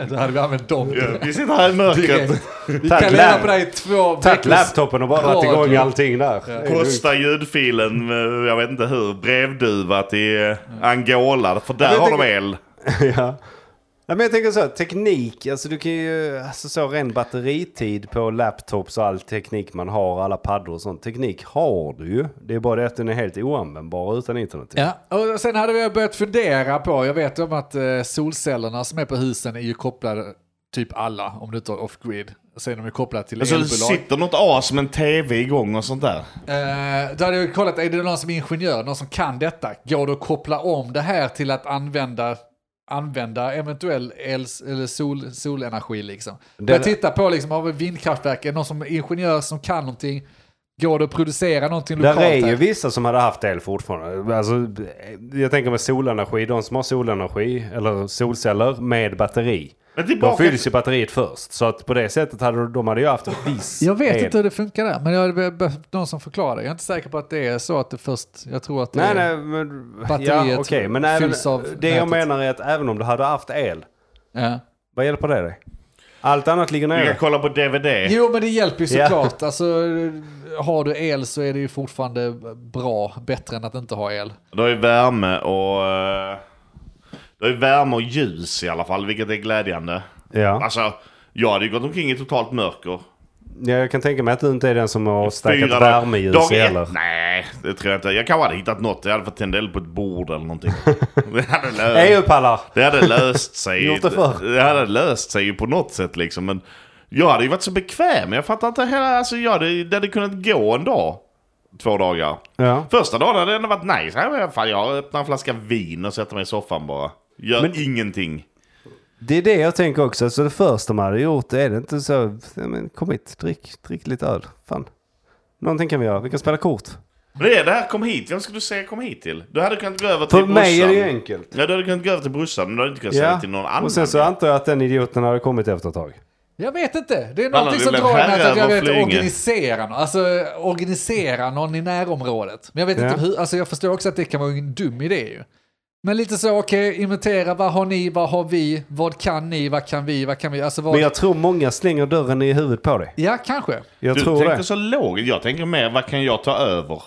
C: Då hade vi använt dem.
A: vi sitter här i mörkret.
C: Direkt. Vi
B: Tack,
C: kan leva
B: lär-
C: på det här i två
B: Tagit
C: veckor.
B: laptopen och bara dragit igång
C: Radio.
B: allting där. Det är lugnt.
A: Posta ljudfilen, med, jag vet inte hur, brevduva till eh, Angola. För där
B: jag
A: har de
B: tänker-
A: el.
B: ja. Nej, men jag tänker så, här, teknik, alltså du kan ju, alltså så ren batteritid på laptops och all teknik man har, alla paddor och sånt. Teknik har du ju, det är bara det att den är helt oanvändbar utan internet.
C: Ja, och sen hade vi börjat fundera på, jag vet om att eh, solcellerna som är på husen är ju kopplade, typ alla, om du inte har off-grid. Sen är de ju kopplade till
A: Alltså, det
C: elbolag.
A: sitter något as med en tv igång och sånt där.
C: Eh, då hade jag kollat, är det någon som är ingenjör, någon som kan detta? Går det att koppla om det här till att använda, använda eventuell el, eller sol, solenergi liksom?
B: Det-
C: Jag tittar på liksom, har vi vindkraftverk, är det någon som är ingenjör som kan någonting? Går det att producera någonting lokalt?
B: Där är ju
C: här?
B: vissa som hade haft el fortfarande. Alltså, jag tänker med solenergi, de som har solenergi eller solceller med batteri.
A: Men
B: Då
A: tillbaka,
B: fylls ju batteriet först. Så att på det sättet hade de- de hade ju haft en viss
C: Jag vet
B: el.
C: inte hur det funkar där, men jag hade behövt någon som förklarar. Jag är inte säker på att det är så att det först, jag tror att det
B: Nej,
C: är...
B: nej, men,
C: Batteriet
B: ja, okej, men även,
C: fylls av
B: det jag
C: nätet.
B: menar är att även om du hade haft el
C: Ja.
B: Vad hjälper det dig? Allt annat ligger
A: vi
B: nere.
A: kan kolla på DVD.
C: Jo, men det hjälper ju
B: Ja.
C: såklart. Alltså, har du el så är det ju fortfarande bra, bättre än att inte ha el.
A: Det är värme och... eh, Det är värme och ljus i alla fall, vilket är glädjande.
B: Ja.
A: Alltså, jag hade ju gått omkring i totalt mörker.
B: Ja, Jag kan tänka mig att du inte är den som har stackat
A: Fyra
B: värmeljus
A: dag ett-
B: heller.
A: Nej, det tror jag inte. Jag kanske hade hittat något. Jag hade fått tända eld på ett bord eller någonting. Det hade, lö-
B: EU-pallar!
A: det hade löst sig.
B: Gjort det förr.
A: det hade löst sig ju på något sätt liksom. Men jag hade ju varit så bekväm. Jag fattar inte hela... Alltså, jag hade, det hade kunnat gå en dag. Två dagar.
B: Ja.
A: Första dagen hade det ändå varit nice. Ja, men Fan, jag öppnar en flaska vin och sätter mig i soffan bara. Gör
B: Men-
A: ingenting.
B: Det är det jag tänker också. Så det första man hade gjort, är det inte så... ja, Men kom hit, drick, drick lite öl. Fan. Någonting kan vi göra. Vi kan spela kort.
A: Men det är det här, kom hit. Vem ska du säga kom hit till? Du hade kunnat gå över till
B: För mig är det ju
A: brorsan.
B: enkelt.
A: Ja, du hade kunnat gå över till brorsan, men du hade inte kunnat säga
B: Ja.
A: det till någon annan.
B: Och sen så antar jag att den idioten hade kommit efter ett tag.
C: Jag vet inte. Det är
A: Alla
C: någonting
A: vill
C: som
A: bli
C: drar mig
A: herrar
C: att jag
A: på
C: vet
A: Flyinge.
C: organisera någon. Alltså organisera någon i närområdet. Men jag vet
B: Ja.
C: inte hur, alltså jag förstår också att det kan vara en dum idé ju. Men lite så, okej, inventera, vad har ni, vad har vi, vad kan ni, vad kan vi, vad kan vi, alltså vad...
B: Men jag tror många slänger dörren i huvudet på dig.
C: Ja, kanske.
B: Jag
A: du
B: tror
A: tänkte
B: det.
A: så lågt. Jag tänker mer, vad kan jag ta över?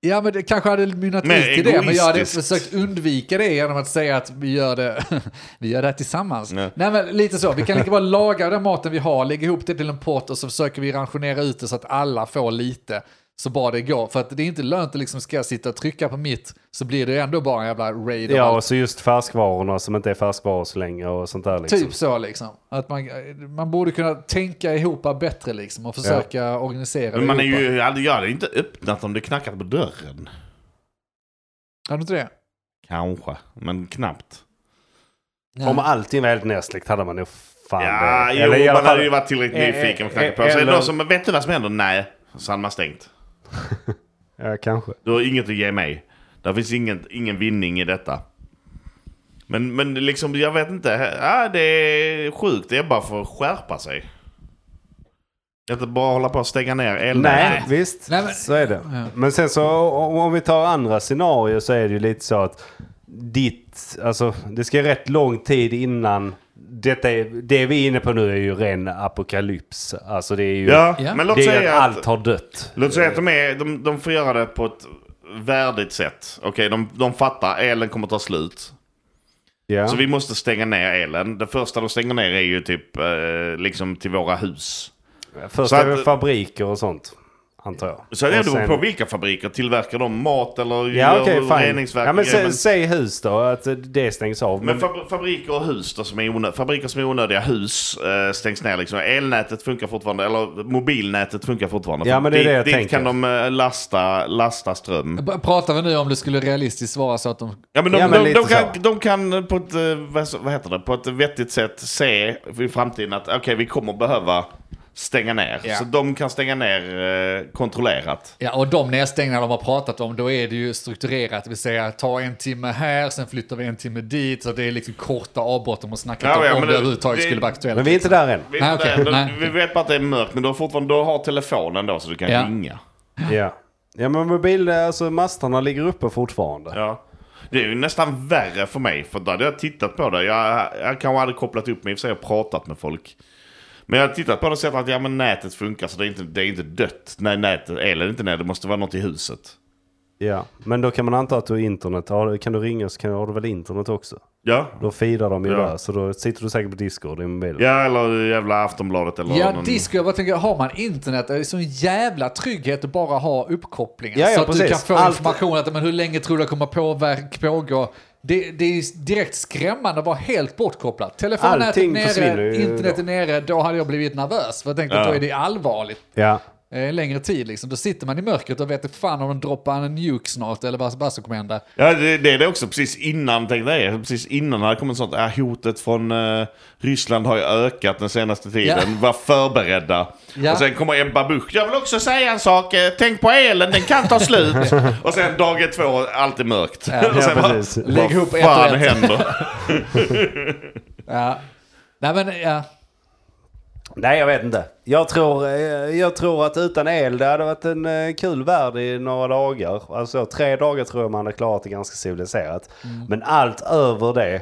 C: Ja, men det kanske hade mynnat
A: Men
C: ut i det, men jag hade
A: egoistiskt.
C: försökt undvika det genom att säga att vi gör det, vi gör det här tillsammans.
A: Nej.
C: Nej. men lite så. Vi kan lika bara laga den maten vi har, lägga ihop det till en pott och så försöker vi ransionera ut det så att alla får lite. Så bara det går. För att det är inte lönt att liksom ska jag sitta och trycka på mitt så blir det ju ändå bara en jävla raid. av
B: Ja,
C: allt.
B: och så just färskvarorna som inte är färskvaror så länge och sånt där liksom.
C: Typ så liksom. Att man, man borde kunna tänka ihop bättre liksom och försöka organisera
A: Men man är
C: ihop.
A: ju, jag hade inte öppnat om det knackat på dörren.
C: Har du inte det?
A: Kanske, men knappt.
C: Nej.
B: Om allting var helt nedsläckt hade man nog fan
A: Ja,
B: det.
A: jo,
B: Eller i alla
A: man hade
B: fall-
A: ju varit tillräckligt
B: Eh,
A: nyfiken och
B: eh,
A: knackat på. Så är det
B: eller-
A: någon som, vet du vad som händer? Nej, så hade man stängt.
B: Ja, kanske.
A: Du har inget att ge mig. Där finns ingen, ingen vinning i detta. Men, men liksom, jag vet inte. Ja, det är sjukt. Det är bara för att skärpa sig. Inte bara hålla på att stänga ner elden.
B: Nej, visst.
C: Nej, men-
B: Så är det.
C: Ja.
B: Men sen så o- om vi tar andra scenarier så är det ju lite så att ditt, alltså det ska rätt lång tid innan detta är, det vi är inne på nu är ju ren apokalyps. Alltså det är ju,
A: Ja,
C: Ja.
A: men
B: det
A: låt
B: är ju
A: säga
B: att
A: att,
B: allt har dött.
A: låt säga att de, är, de, de får göra det på ett värdigt sätt. Okej, de, de fattar. Elen kommer ta slut.
B: Ja.
A: Så vi måste stänga ner elen. Det första de stänger ner är ju typ eh, liksom till våra hus.
B: Först
A: så
B: är det
A: att-
B: fabriker och sånt, antar jag.
A: Så det
B: Och
A: beror
B: sen-
A: på vilka fabriker. Tillverkar de mat eller
B: Ja okej,
A: gör
B: fine.
A: reningsverk?
B: Ja, men
A: och grejer?
B: sä, säg hus då, att det stängs av.
A: Men fab- fabriker och hus då, som är onö- fabriker som är onödiga hus eh, stängs ner. Liksom. Elnätet funkar fortfarande, eller mobilnätet funkar fortfarande.
B: Ja,
A: För
B: men det är
A: dit,
B: det jag
A: dit
B: tänker.
A: kan de eh, lasta, lasta ström.
C: B- Pratar vi nu om du skulle realistiskt svara så att de...
A: Ja, men de,
B: Ja, men
A: de,
B: lite
A: de,
B: så.
A: kan, de kan på ett, eh, vad, så- vad heter det, på ett vettigt sätt se i framtiden att okej, vi kommer behöva stänga ner.
C: Ja.
A: Så de kan stänga ner eh, kontrollerat.
C: Ja, och de nedstängningar de har pratat om, då är det ju strukturerat. Det vill säga, ta en timme här, sen flyttar vi en timme dit. Så det är liksom korta avbrott de har snackat
A: Ja,
C: om,
A: ja,
C: om
A: men
C: det
A: det-
C: överhuvudtaget
A: det-
C: skulle vara aktuellt.
B: Men vi är inte där än.
A: Vi,
C: Nej, okej,
A: nej, då-
C: nej.
A: vi vet bara att det är mörkt, men du har fortfarande du har telefonen då så du kan
C: Ja.
A: ringa.
B: Ja. Ja men mobil, alltså masterna ligger uppe fortfarande.
A: Ja. Det är ju nästan värre för mig, för då hade jag tittat på det. Jag, jag kanske hade kopplat upp mig i och för sig och pratat med folk. Men jag har tittat på det och sett att ja, men nätet funkar, så det är inte, det är inte dött. Nej, nätet, eller inte nej, det måste vara något i huset.
B: Ja, men då kan man anta att du har internet. Har du- Kan du ringa så kan, har du väl internet också?
A: Ja.
B: Då feedar de ju
A: Ja.
B: där, så då sitter du säkert på Discord i mobilen.
A: Ja, eller jävla Aftonbladet eller
C: Ja,
A: någon...
C: disco. Jag bara tänker, har man internet, är det sån jävla trygghet att bara ha uppkopplingen.
B: Ja, ja,
C: så att du
B: precis.
C: kan få
B: Allt-
C: information, att, men hur länge tror du det kommer påverk, pågå? Det, det är ju direkt skrämmande att vara helt bortkopplad. Telefonnätet
B: Allting försvinner
C: nere,
B: ju
C: internet
B: då.
C: är nere, då hade jag blivit nervös. För jag tänkte att
A: Ja.
C: då är det allvarligt.
B: Ja.
C: Eh, En längre tid liksom. Då sitter man i mörkret och vet inte fan om de droppar en nuke snart eller vad, vad som kommer hända.
A: Ja, det, det är det också. Precis innan, tänkte jag, precis innan hade det kommit sånt, ja, hotet från eh, Ryssland har ju ökat den senaste tiden.
C: Ja.
A: Var förberedda.
C: Ja.
A: Och sen kommer Ebba Busch, jag vill också säga en sak, eh, tänk på elen, den kan ta slut. och sen dagen två, allt är mörkt. och sen
B: Ja,
A: bara,
B: precis.
A: vad
C: Lägg ihop ett och
A: fan
C: ett.
A: händer?
C: Ja. Nej men ja.
B: Nej, jag vet inte. Jag tror, eh, jag tror att utan el, det hade varit en eh, kul värld i några dagar. Alltså tre dagar tror jag man hade klarat det ganska civiliserat.
C: Mm.
B: Men allt över det,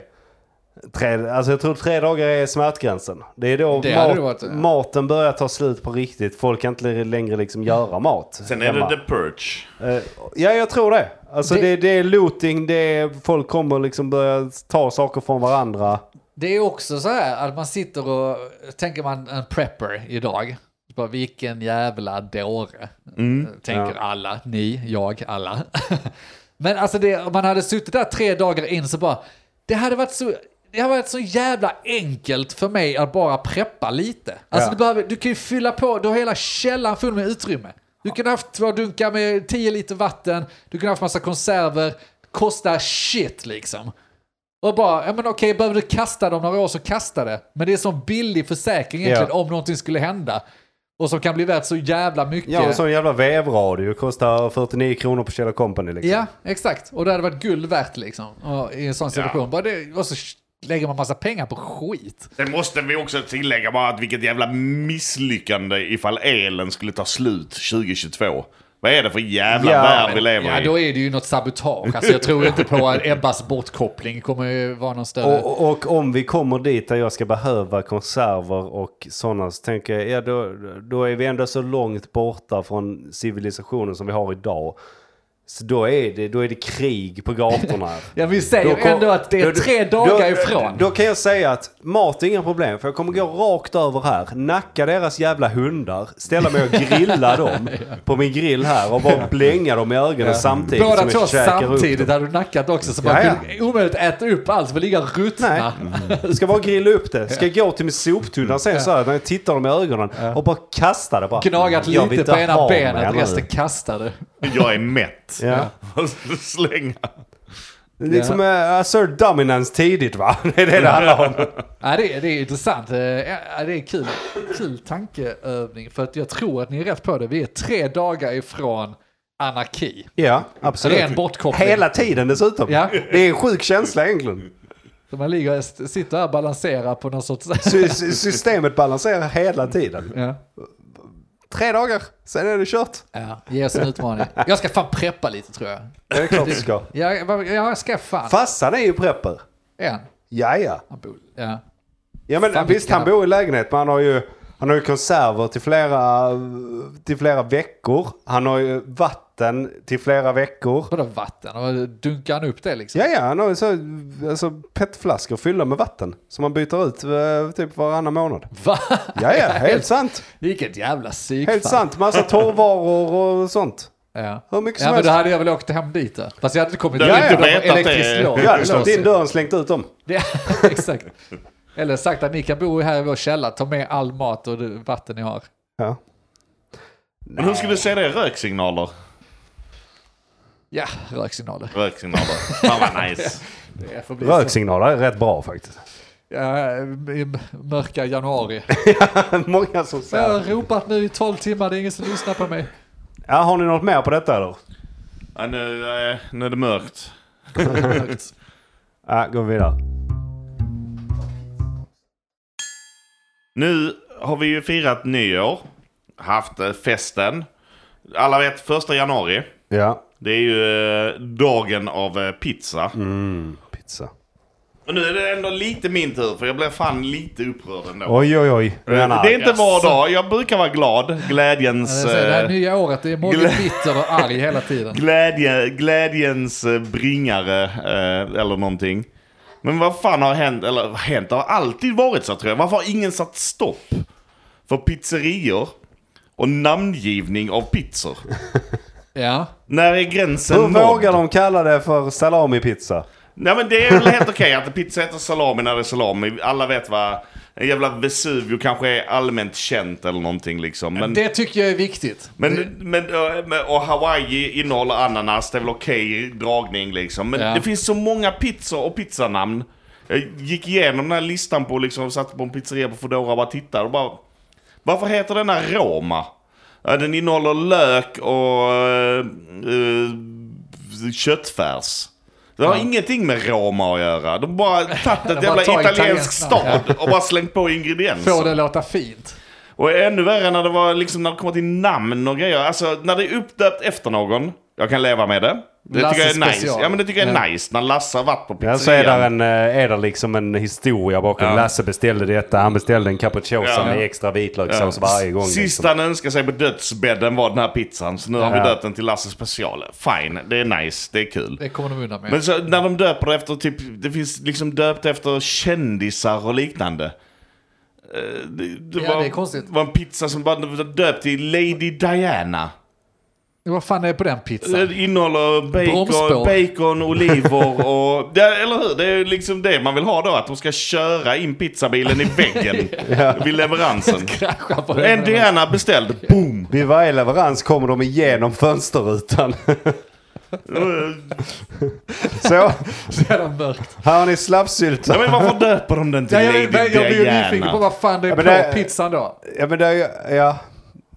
B: tre, alltså jag tror tre dagar är smärtgränsen. Det är då
C: Det hade
B: mat,
C: det varit, ja.
B: maten börjar ta slut på riktigt. Folk kan inte längre liksom göra mat.
A: Sen är
B: hemma.
A: det The Purge.
B: Eh, Ja, jag tror det. Alltså
C: Det-
B: det, det, är looting, det är, folk kommer liksom börja ta saker från varandra.
C: Det är också så här att man sitter och tänker man en prepper idag. Bara, vilken jävla dåre. Tänker alla. Ni, jag, alla. Men alltså det, om man hade suttit där tre dagar in så bara. Det hade varit så. Det har varit så jävla enkelt för mig att bara preppa lite. Alltså
B: Ja.
C: du, behöver, du kan ju fylla på, du har hela källaren full med utrymme. Du kan ha haft två dunkar med 10 liter vatten, du kan ha haft massa konserver, kostar shit liksom. Och bara, ja men okej, behöver du kasta dem några år så kasta det. Men det är en sån billig försäkring egentligen
B: Ja.
C: om någonting skulle hända. Och som kan bli värt så jävla mycket.
B: Ja, och sån jävla vevradio kostar 49 kronor på Kjell Company liksom.
C: Ja, exakt. Och det hade varit guld värt liksom. Och I en sån situation. Bara det, och så lägger man massa pengar på skit.
A: Sen måste vi också tillägga bara att vilket jävla misslyckande ifall elen skulle ta slut 2022. Vad är det för jävla
B: Ja,
A: värld vi
B: men-
A: lever
C: Ja,
A: i?
C: då är det ju något sabotage. Alltså, jag tror inte på att Ebbas bortkoppling kommer ju vara någon större...
B: Och, och om vi kommer dit där jag ska behöva konserver och sådana så tänker jag, ja då, då är vi ändå så långt borta från civilisationen som vi har idag. Så då är det, då är det krig på gatorna.
C: Ja, vi säger
B: Då kom-
C: ändå att det är
B: då-
C: tre
B: då-
C: dagar
B: då-
C: ifrån.
B: Då kan jag säga att mat är inga problem för jag kommer gå rakt över här, nacka deras jävla hundar, ställa mig och grilla dem på min grill här och bara blänga dem i ögonen samtidigt
C: Båda
B: som
C: två
B: jag käkar upp dem.
C: samtidigt hade du nackat också, så man
B: Ja, ja.
C: kunde omöjligt äta upp allt, för ligga och ruttna.
B: Nej, ska bara grilla upp det. Ska gå till min soptunna sen så här när jag tittar dem i ögonen och bara kasta det bara.
C: Gnagat
B: Jag vill inte
C: lite på ena
B: ha mig
C: benet,
B: nu.
C: resten kastade.
A: Jag är mätt.
B: Ja.
A: Slänga.
B: Det är Liksom uh, Sir Dominance tidigt va? Det är det det handlar om.
C: Ja, det, är- det är intressant. Eh, Ja, det är kul, kul tankeövning, för att jag tror att ni är rätt på det. Vi är tre dagar ifrån anarki.
B: Ja, absolut.
C: Ren bortkoppling.
B: Hela tiden dessutom.
C: Ja.
B: Det är en sjuk känsla egentligen.
C: Så man ligger och st- sitter här och balanserar på någon sorts...
B: Sy- sy- Systemet balanserar hela tiden.
C: Ja.
B: Tre dagar, sen är det kört.
C: Ja, ge oss en utmaning. Jag ska fan preppa lite tror jag.
B: Det är klart du ska.
C: Jag, vad- jag ska fan.
B: Fassan är ju prepper.
C: En.
B: Ja, ja.
C: Han bor- Ja.
B: Ja men
C: Fan,
B: visst,
C: vilken
B: han bor i lägenhet men han har ju, han har ju konserver till flera, till flera veckor. Han har ju vatten till flera veckor.
C: Vadå vatten? Och dunkar han upp det liksom?
B: Ja, ja, han har ju så, alltså petflaskor fyllda med vatten som man byter ut eh, typ varannan månad.
C: Va?
B: Ja, ja, helt sant.
C: Vilket jävla psykfall.
B: Helt sant. Massa torrvaror och sånt.
C: Ja.
B: Hur mycket
C: ja,
B: som
C: men
B: helst.
C: då hade jag väl åkt hem dit då. Fast jag hade inte kommit
A: Du
C: dit.
A: hade
C: för
A: inte
C: det var
A: vetat
C: elektriskt
A: det.
C: lås.
B: Ja,
C: Lås.
B: slå in dörren, slängt ut dem.
C: Det, exakt. Eller sagt att ni kan bo här i vår källare, ta med all mat och det vatten ni har.
B: Ja.
A: Men hur skulle du säga det? Röksignaler?
C: Ja, röksignaler.
A: Röksignaler. Fan vad nice.
C: Det får bli så.
B: Röksignaler är rätt bra faktiskt.
C: Ja, i m- mörka januari.
B: Många som
C: Jag har
B: säger.
C: ropat nu i 12 timmar, det är ingen som lyssnar på mig.
B: Ja, har ni något mer på detta eller?
A: Ja, nu, eh, nu är det mörkt.
B: Ja, går vi vidare.
A: Nu har vi ju firat nyår. Haft eh, festen. Alla vet, första januari.
B: Ja.
A: Det är ju eh, dagen av eh, pizza.
B: Mm, pizza.
A: Men nu är det ändå lite min tur för jag blev fan lite upprörd ändå.
B: Oj, oj, oj. Nu är han
A: det är
B: arg.
A: inte var dag. Jag brukar vara glad. Glädjens...
C: Det är så, Det här
A: eh,
C: nya året, det är Mogge
A: glä-
C: bitter och arg hela tiden.
A: Glädje, glädjens eh, bringare eh, eller någonting. Men vad fan har hänt? Eller hänt? Det har alltid varit så tror jag. Varför har ingen satt stopp för pizzerior och namngivning av pizzor?
C: Ja,
A: När är gränsen
B: Hur vågar
A: nådd?
B: de kalla det för salamipizza?
A: Nej men det är väl helt okej att pizza heter salami när det är salami. Alla vet vad... En jävla Vesuvio kanske är allmänt känt eller någonting liksom. Men,
C: det tycker jag är viktigt.
A: men,
C: det,
A: men, eh, men, och Hawaii innehåller ananas, det är väl okej dragning liksom. Men
C: Ja.
A: det finns så många pizzor och pizzanamn. Jag gick igenom den här listan på liksom, satt på en pizzeria på Foodora och bara tittade och bara... Varför heter denna Roma? Ja, den innehåller lök och eh, eh, köttfärs. Det har ingenting med Roma att göra. De har bara tagit ett
C: De bara
A: jävla
C: tar
A: italiensk
C: italienskt namn,
A: stad och bara slängt på ingredienser.
C: får det låta fint.
A: Och ännu värre när det var liksom när det kommer till namn och grejer. Alltså när det är uppdöpt efter någon. Jag kan leva med det. Det
C: Lasse
A: tycker jag är nice.
C: special.
A: Ja men det tycker jag är
C: Ja.
A: nice. När Lasse har varit på
B: Ja, så är
A: pizzerian.
B: där, en, eh, är där liksom en historia bakom.
A: Ja.
B: Lasse beställde detta, han beställde en capricciosa
A: Ja.
B: med extra vitlökssås varje gång.
A: Sista
B: Liksom.
A: han önskade sig på dödsbädden var den här pizzan. Så nu har vi
B: Ja.
A: döpt den till Lasse special. Fine, det är nice, det är kul.
C: Det kommer de undan med.
A: Men så, när de döper det efter typ, det finns liksom döpt efter kändisar och liknande. Eh, Det, det,
C: Ja,
A: var,
C: det är konstigt.
A: var en pizza som bara var döpt till Lady Diana.
C: Vad fan är det på den pizzan?
A: Det Eh, innehåller bacon,
C: Bromsspår.
A: bacon oliver och... Ja, eller hur? Det är liksom det man vill ha då. Att de ska köra in pizzabilen i väggen vid leveransen.
C: Krascha på den.
A: En Diana beställd. Boom!
B: Vid varje leverans kommer de igenom fönsterrutan. så,
C: Så jävla mörkt.
B: här har ni slafssylta.
A: Ja, men varför döper de den till
C: Ja,
A: Lady
C: jag, jag, jag blir ju nyfiken på
A: Diana?
C: vad fan det är
B: Ja,
C: på
B: men det-
C: pizzan då.
B: Ja, men det är ju- ja.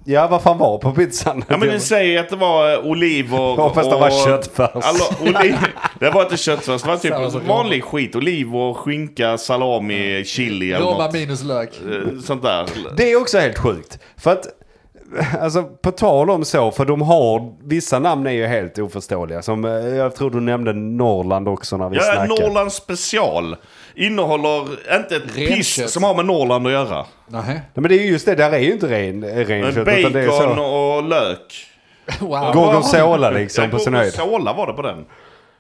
B: ja, vad fan var på pizzan?
A: Ja men du säger att det var eh, oliver och...
B: hoppas det var köttfärs.
A: Alla, oliv, det var inte köttfärs, det var
C: Samma sak.
A: typ vanlig skit. Oliver, skinka, salami, chili eller
C: Roma
A: något.
C: minus lök.
A: Eh, Sånt där.
B: Det är också helt sjukt. För att, alltså på tal om så, för de har, vissa namn är ju helt oförståeliga. Som, eh, jag tror du nämnde Norrland också när vi
A: Ja,
B: snackade.
A: Norrland special. Innehåller inte ett
C: Renkött.
A: piss som har med Norrland att göra.
C: Nej.
B: Nej, men det är ju just det, där är ju inte ren, renkött. utan det är
A: Bacon
B: så.
A: och lök.
C: Wow.
B: Gorgonzola liksom på sin höjd.
A: Gorgonzola var det på den.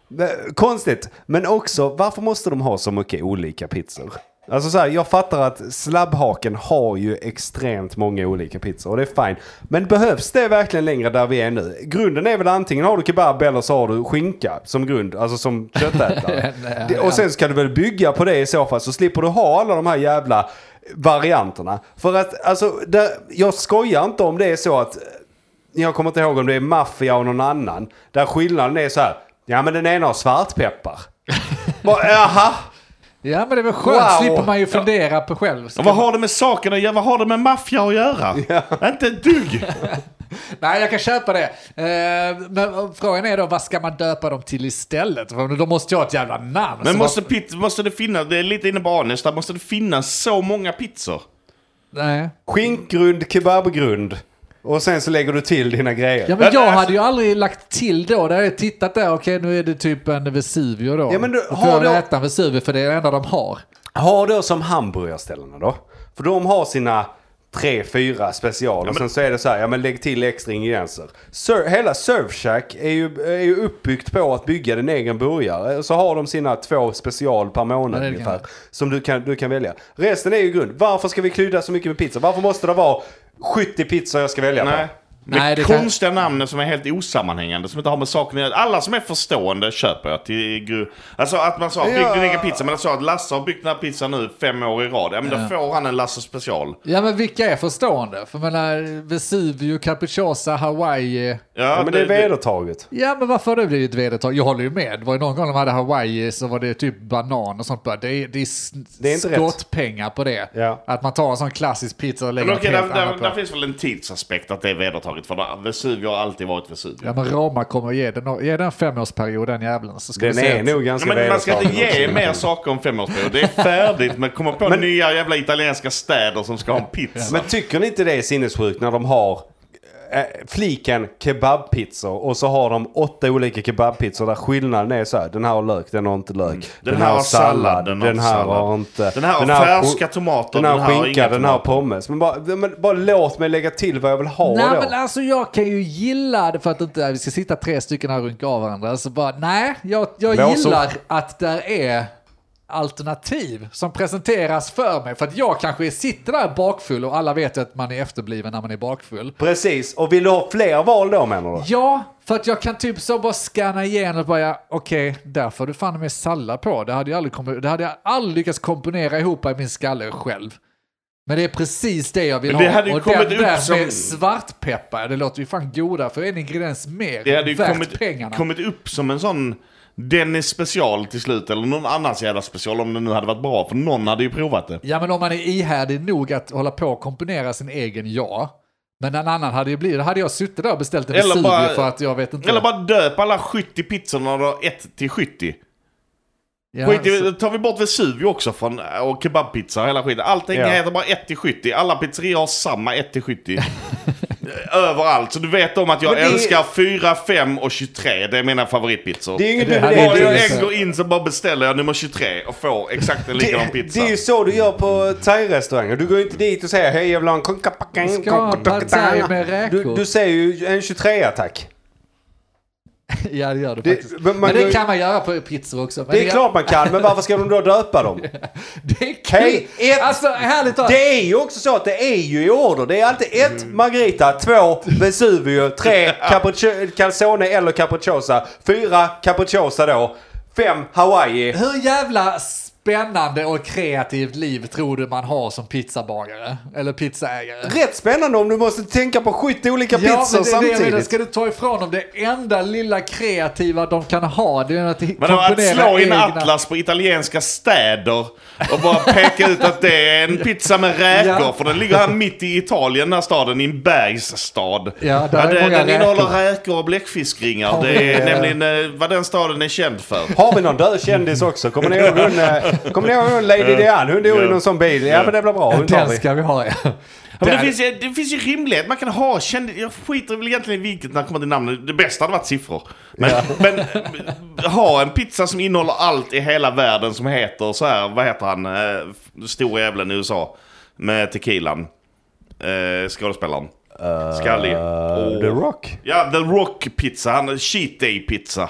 B: Det- Konstigt, men också varför måste de ha så mycket olika pizzor? Alltså så här, jag fattar att slabbhaken har ju extremt många olika pizzor och det är fint. Men behövs det verkligen längre där vi är nu? Grunden är väl antingen har du kebab eller så har du skinka som grund, alltså som köttätare.
C: Nej,
B: Det- och sen ska du väl bygga på det i så fall så slipper du ha alla de här jävla varianterna. För att, alltså, det, jag skojar inte om det är så att jag kommer inte ihåg om det är maffia och någon annan. Där skillnaden är så här. Ja men den ena har svartpeppar. Bara, Jaha.
C: Ja men det är väl skönt,
B: Wow.
C: slipper man ju fundera på själv.
A: Och vad har det med saken att göra? Vad har det med maffia att göra? Inte ett dugg.
C: Nej jag kan köpa det. Eh, Men frågan är då vad ska man döpa dem till istället? För då måste jag ha ett jävla namn.
A: Men
C: Så
A: måste,
C: vad-
A: pit, måste det finnas, det är lite inne på Anes, där måste det finnas så många pizzor.
C: Nej.
B: Skinkgrund, kebabgrund. Och sen så lägger du till dina grejer.
C: Ja, men jag hade ju aldrig lagt till då. Där hade jag tittat där, okej nu är det typ en Vesuvio då.
B: Ja, men du-
C: Då får
B: har
C: jag
B: du-
C: äta en Vesuvio för det är det enda de har.
B: Ha då som hamburgarställena då. För de har sina tre, fyra specialer. och Sen så är det så här, ja men lägg till extra ingredienser. Sur- hela Surfshack är ju, är ju uppbyggt på att bygga din egen burgare. Så har de sina två special per månad
C: Ja, det kan
B: ungefär.
C: jag.
B: Som du kan, du kan välja. Resten är ju grund. Varför ska vi klydda så mycket med pizza? Varför måste det vara 70 pizzor jag ska välja
A: Nej.
B: på?
A: Det,
C: Nej, det kan-
A: konstiga namnen som är helt osammanhängande, som inte har med saken att göra. Alla som är förstående köper jag till gru... Alltså att man sa, bygg
B: Ja.
A: din egen pizza, men att så att Lasse har byggt den här pizzan nu fem år i rad. Ja, men då får han en Lasse special.
C: Ja men vilka är förstående? För jag menar Vesuvio, Capricciosa, Hawaii.
A: Ja,
B: Ja, men det är vedertaget.
C: Ja men varför har det blivit vedertaget? Jag håller ju med. Det var ju någon gång de hade Hawaii så var det typ banan och sånt. bara. Det är, det är, s-
B: Det är inte rätt.
C: skottpengar på det.
B: Ja.
C: Att man tar en sån klassisk pizza och lägger
A: Men
C: något
A: okej,
C: helt
A: där,
C: annat
A: där,
C: på.
A: där finns väl en tidsaspekt att det är vedertaget. För där- Vesuvio har alltid varit Vesuvio.
C: Ja men Roma kommer ge den, ge den femårsperiod den jäveln. Så ska vi
B: Den
C: se
B: är
C: att-
B: nog
A: Ja,
B: ganska
A: men man ska inte
B: vedertagen
A: ge
B: också.
A: mer saker om femårsperiod. Det är färdigt. Men komma på nya jävla italienska städer som ska ha en pizza.
B: Men tycker ni inte det är sinnessjukt när de har eh, fliken kebabpizzor och så har de åtta olika kebabpizzor där skillnaden är så här. Den här har lök, den har inte lök.
A: Den här har sallad, den har
B: den här
A: sallad.
B: har inte.
A: Den här har färska tomater,
B: Den här
A: den här har
B: har skinka,
A: inga
B: den här har
A: tomater.
B: pommes. Men bara, men bara låt mig lägga till vad jag vill ha
C: Nej
B: då.
C: men alltså jag kan ju gilla det för att inte vi ska sitta tre stycken här och runka av varandra. Så bara nej, jag, jag
B: Lås upp.
C: gillar att där är alternativ som presenteras för mig. För att jag kanske sitter där bakfull och alla vet att man är efterbliven när man är bakfull.
B: Precis, och vill du ha fler val då menar du?
C: Ja, för att jag kan typ så bara scanna igenom och bara ja, okej, där får du fan med sallad på. Det hade, jag aldrig kom- det hade jag aldrig lyckats komponera ihop i min skalle själv. Men det är precis det jag vill
A: Men det
C: ha.
A: hade ju
C: och
A: kommit
C: den
A: upp
C: där
A: som-
C: med svartpeppar, det låter ju fan goda för en ingrediens mer.
A: Det hade ju
C: värt
A: kommit,
C: pengarna.
A: kommit upp som en sån Dennis special till slut, eller någon annans jävla special om det nu hade varit bra, för någon hade ju provat det.
C: Ja, men om man är ihärdig nog att hålla på och komponera sin egen ja. Men en annan hade ju blivit, hade jag suttit där och beställt en
A: Eller
C: Vesuvio
A: bara-
C: för att jag vet inte.
A: Eller bara döp alla 70 pizzorna då, 1 till 70.
C: ja,
A: Skit i,
C: så-
A: Tar vi bort Vesuvio också från, och kebabpizza och hela skiten. Allting
B: Ja.
A: heter bara 1 till 70. Alla pizzerior har samma 1 till 70. Överallt, så du vet om att jag
B: Men det-
A: älskar 4, 5 och 23. Det är mina favoritpizzor.
B: Det är ju inget
C: Det
B: med
C: hade
A: Bara
C: ju
A: jag
C: blivit
B: det.
C: så.
A: än går in så bara beställer jag nummer 23 och får exakt en likadan
B: Det,
A: pizza.
B: det är ju så du gör på thai-restauranger. Du går ju inte dit och säger hej jag vill ha en
C: Vi ska ha en pad thai med räkor.
B: Du, du säger ju en 23 tack.
C: ja, det gör det,
B: Det-
C: faktiskt.
B: men
C: Men,
B: man går-
C: det kan man göra på pizzor också. Men
B: Det är
C: jag-
B: klart man kan, men varför ska de då döpa dem?
C: Det är
B: Hej,
C: kul!
B: ett-
C: Alltså härligt talat.
B: Det är ju också så att det är ju i order. Det är alltid ett
C: Mm.
B: Margarita, två Vesuvio, tre capriccio- calzone eller capricciosa, fyra capricciosa då, fem Hawaii.
C: Hur jävla spännande och kreativt liv tror du man har som pizzabagare? Eller pizzaägare?
B: Rätt spännande om du måste tänka på 70 olika
C: Ja,
B: pizzor
C: men det är det jag menar.
B: samtidigt.
C: Ska du ta ifrån dem det enda lilla kreativa de kan ha? Det är att
A: Men
C: komponera
A: att slå in
C: egna...
A: atlas på italienska städer och bara peka ut att det är en pizza med räkor.
C: Ja.
A: För den ligger här mitt i Italien, den här staden, i en bergsstad.
C: Ja, där är
A: det,
C: många
A: den innehåller
C: räkor.
A: räkor och bläckfiskringar. Det är
B: Ja.
A: nämligen eh, vad den staden är känd för.
B: Har vi någon död kändis
C: Mm.
B: också? Kommer ni ihåg hon, eh, kommer ni ihåg hon Lady Diana? Hon dog i någon sån bil. Ja men det blir bra. Hon tar
C: Den
B: vi.
C: ska vi ha, ja.
A: Ja, Men det,
C: Där-
A: finns, ju- det finns ju rimlighet. Man kan ha känd... Jag skiter väl egentligen i vilket när det kommer till namnen. Det bästa hade varit siffror. Men, men eh, ha en pizza som innehåller allt i hela världen som heter så här. Vad heter han? eh, Stora jävlen i USA. Med tequilan. Eh, skådespelaren. Skallig.
B: Eh,
A: Åh.
B: The Rock.
A: Ja, The Rock Pizza. Han är Cheat Day Pizza.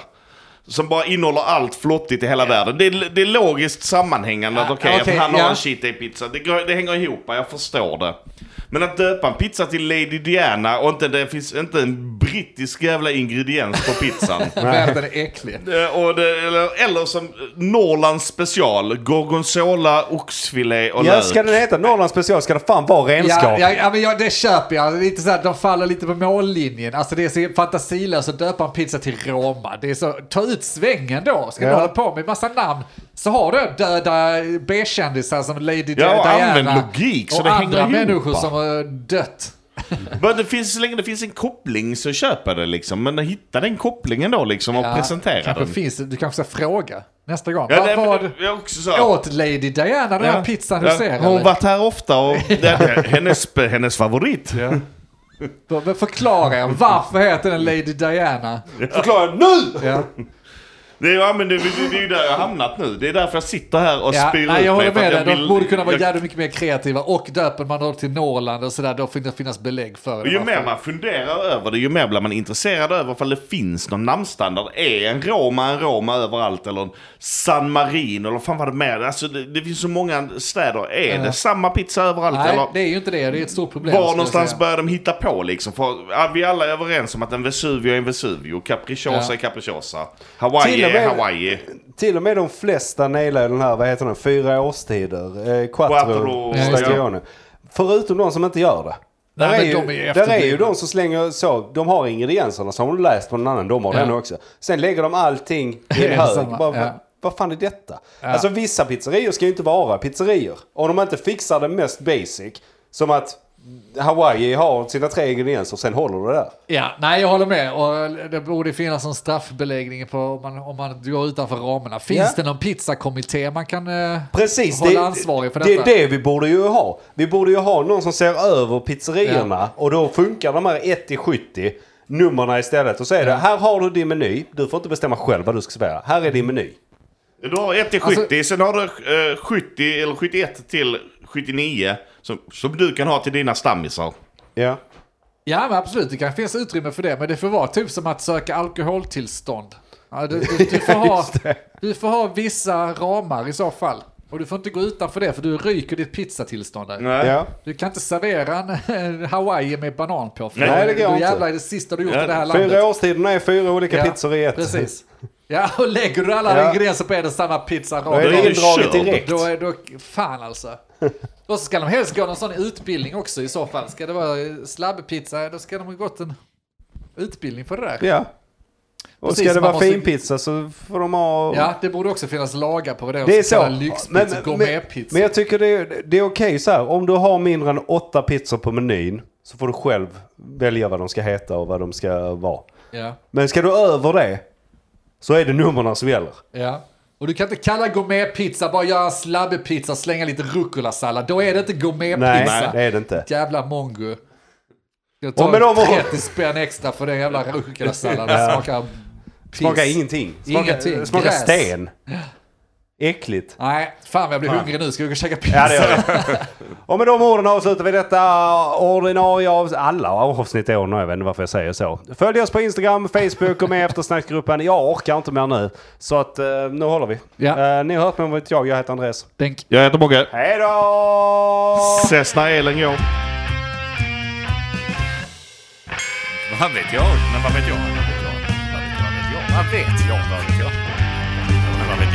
A: Som bara innehåller allt flottigt i hela världen. Det är, det är logiskt sammanhängande att
C: Ja,
A: okej,
C: okej,
A: att han
C: ja.
A: har en cheat day pizza. Det, går, det hänger ihop, jag förstår det. Men att döpa en pizza till Lady Diana och inte, det finns inte en brittisk jävla ingrediens på pizzan.
C: Men den är äcklig.
A: Eh, och det, eller, eller som Norrlands special, gorgonzola, oxfilé och
B: Ja,
A: lök.
B: ska den heta Norrlands special ska det fan vara
C: Ja,
B: renskap.
C: ja, ja, men ja, det köper jag. Det är lite så här, de faller lite på mållinjen. Alltså det är så fantasilöst att döpa en pizza till Roma. Det är så, ta ut svängen då. Ska
B: Ja.
C: du hålla på med massa namn så har du döda B-kändisar som Lady
A: Ja, och
C: Diana.
A: använd logik så
C: och
A: det hänger
C: andra
A: ihop,
C: människor
A: va?
C: som har dött.
A: Men det finns, så länge det finns en koppling så köper jag det liksom. Men hitta den kopplingen då liksom och presentera
C: kanske
A: den.
C: finns, du kanske ska fråga nästa gång.
A: Ja,
C: vad,
A: nej, men
C: vad
A: det är också så här-
C: åt Lady Diana den här pizzan du ser?
A: Har hon
C: eller?
A: varit här ofta och det är hennes, hennes favorit.
C: Då förklarar jag varför heter den Lady Diana.
B: Förklara nu!
C: Ja.
A: Det är, ja, men det, det, det är ju där jag har hamnat nu. Det är därför jag sitter här och
C: Ja,
A: spyr
C: nej,
A: ut
C: jag håller
A: mig. för
C: med
A: att
C: dig.
A: jag vill-
C: De borde kunna vara
A: jag-
C: jävligt mycket mer kreativa. Och döper man då till Norrland och sådär, då får det finnas belägg för det.
A: Ju
C: Varför?
A: mer man funderar över det, ju mer blir man intresserad över ifall det finns någon namnstandard. Är en Roma en Roma överallt? Eller en San Marino? Eller fan vad det med? Alltså, det, det finns så många städer. Är
C: Ja.
A: det samma pizza överallt?
C: Nej,
A: eller?
C: det är ju inte det. Det är ett stort problem. skulle
A: Var
C: jag
A: någonstans
C: säga.
A: börjar de hitta på liksom? För, ja, vi alla är överens om att en Vesuvio är en Vesuvio. Capricciosa
C: Ja.
A: är Capricciosa. Hawaii
B: Till och
A: är
B: med-
A: Hawaii.
B: Till och med de flesta nailar ju den här, vad heter den, fyra årstider. Eh, quattro
A: Quattro, ja.
B: stagione. Förutom de som inte gör det.
C: Nej,
B: Där är,
C: men
B: ju,
C: de är ju
B: där är ju
C: efterblivna.
B: de som slänger så, de har ingredienserna som har de läst på någon annan, de har
C: Ja.
B: den också. Sen lägger de allting i
C: Ja,
B: en hög.
C: samma,
B: Bara,
C: ja.
B: "Vad- Vad fan är detta? Alltså vissa pizzerior ska ju inte vara pizzerior. Om de inte fixar det mest basic, som att Hawaii har sina tre ingredienser och sen håller det där.
C: Ja, nej jag håller med. Och det borde finnas en straffbeläggning på om man, om man går utanför ramarna. Finns
B: Ja.
C: det någon pizzakommitté man kan eh,
B: Precis,
C: hålla
B: det,
C: ansvarig för
B: det
C: detta?
B: är det vi borde ju ha. Vi borde ju ha någon som ser över pizzerierna och då funkar de här 1-70 nummerna istället. Och så är det, här har du din meny, du får inte bestämma själv vad du ska servera. Här är din meny.
A: Du har 1 till
C: Alltså-
A: 70, sen har du eh, 70 eller 71 till 79 som, som du kan ha till dina stammisar.
B: Ja.
C: Ja, men absolut. Det kan finnas utrymme för det. Men det får vara typ som att söka alkoholtillstånd. Ja, du, du, du, får ha, du får ha vissa ramar i så fall. Och du får inte gå utanför det för du ryker ditt pizzatillstånd. Där.
A: Nej.
B: ja.
C: Du kan inte servera en, en Hawaii med banan på. För
A: Nej,
B: det går
C: då
B: inte.
C: jävlar är det sista du gjort
A: Ja,
C: i det här landet.
B: Fyra årstiderna är fyra olika
C: Ja,
B: pizzor i ett.
C: Precis. Ja, och lägger du alla
B: Ja.
C: ingredienser på en och samma pizza
B: Då är
A: Då
B: det
A: är det
B: indraget
A: kört.
B: direkt.
C: då är då, fan alltså. Och så ska de helst gå någon sån utbildning också i så fall. Ska det vara slabbpizza, då ska de ha gått en utbildning för det där.
B: Ja. Och
C: Precis,
B: ska det
C: man
B: vara
C: måste-
B: finpizza så får de ha...
C: Ja, det borde också finnas lagar på vad det är.
B: Det är så.
C: Lyxpizza,
B: men,
C: gourmetpizza.
B: men jag tycker det är, det är okej så här. Om du har mindre än åtta pizzor på menyn så får du själv välja vad de ska heta och vad de ska vara.
C: ja,
B: Men ska du över det så är det numren som gäller.
C: ja. Och du kan inte kalla gourmetpizza, bara göra slabbpizza, slänga lite rucolasallad. Då är det inte
B: Nej,
C: gourmetpizza.
B: det är det inte.
C: Jävla mongo. Jag tar
B: Och med de orden-
C: 30 spänn extra för den jävla rucolasalladen. Smakar piss.
B: Smakar ingenting. Smakar,
C: Ingenting.
B: smakar
C: Gräs.
B: sten. Äckligt.
C: Nej, fan jag blir hungrig nu. Ska vi gå och käka pizza?
B: Ja, det gör det. Och med de orden avslutar vi detta ordinarie av alla avsnitt i år. Jag vet inte varför jag säger så. Följ oss på Instagram, Facebook och med i eftersnacksgruppen. Jag orkar inte mer nu. Så att eh, nu håller vi.
C: Ja.
B: Eh, ni har hört mig om jag. Jag heter Andreas.
C: Tänk.
A: Jag heter Mogge.
B: Hej då!
A: Ses när elen går.
D: Vad vet jag? Men vad vet jag? Vad vet jag? Vad vet jag? Vad vet jag? Men vad vet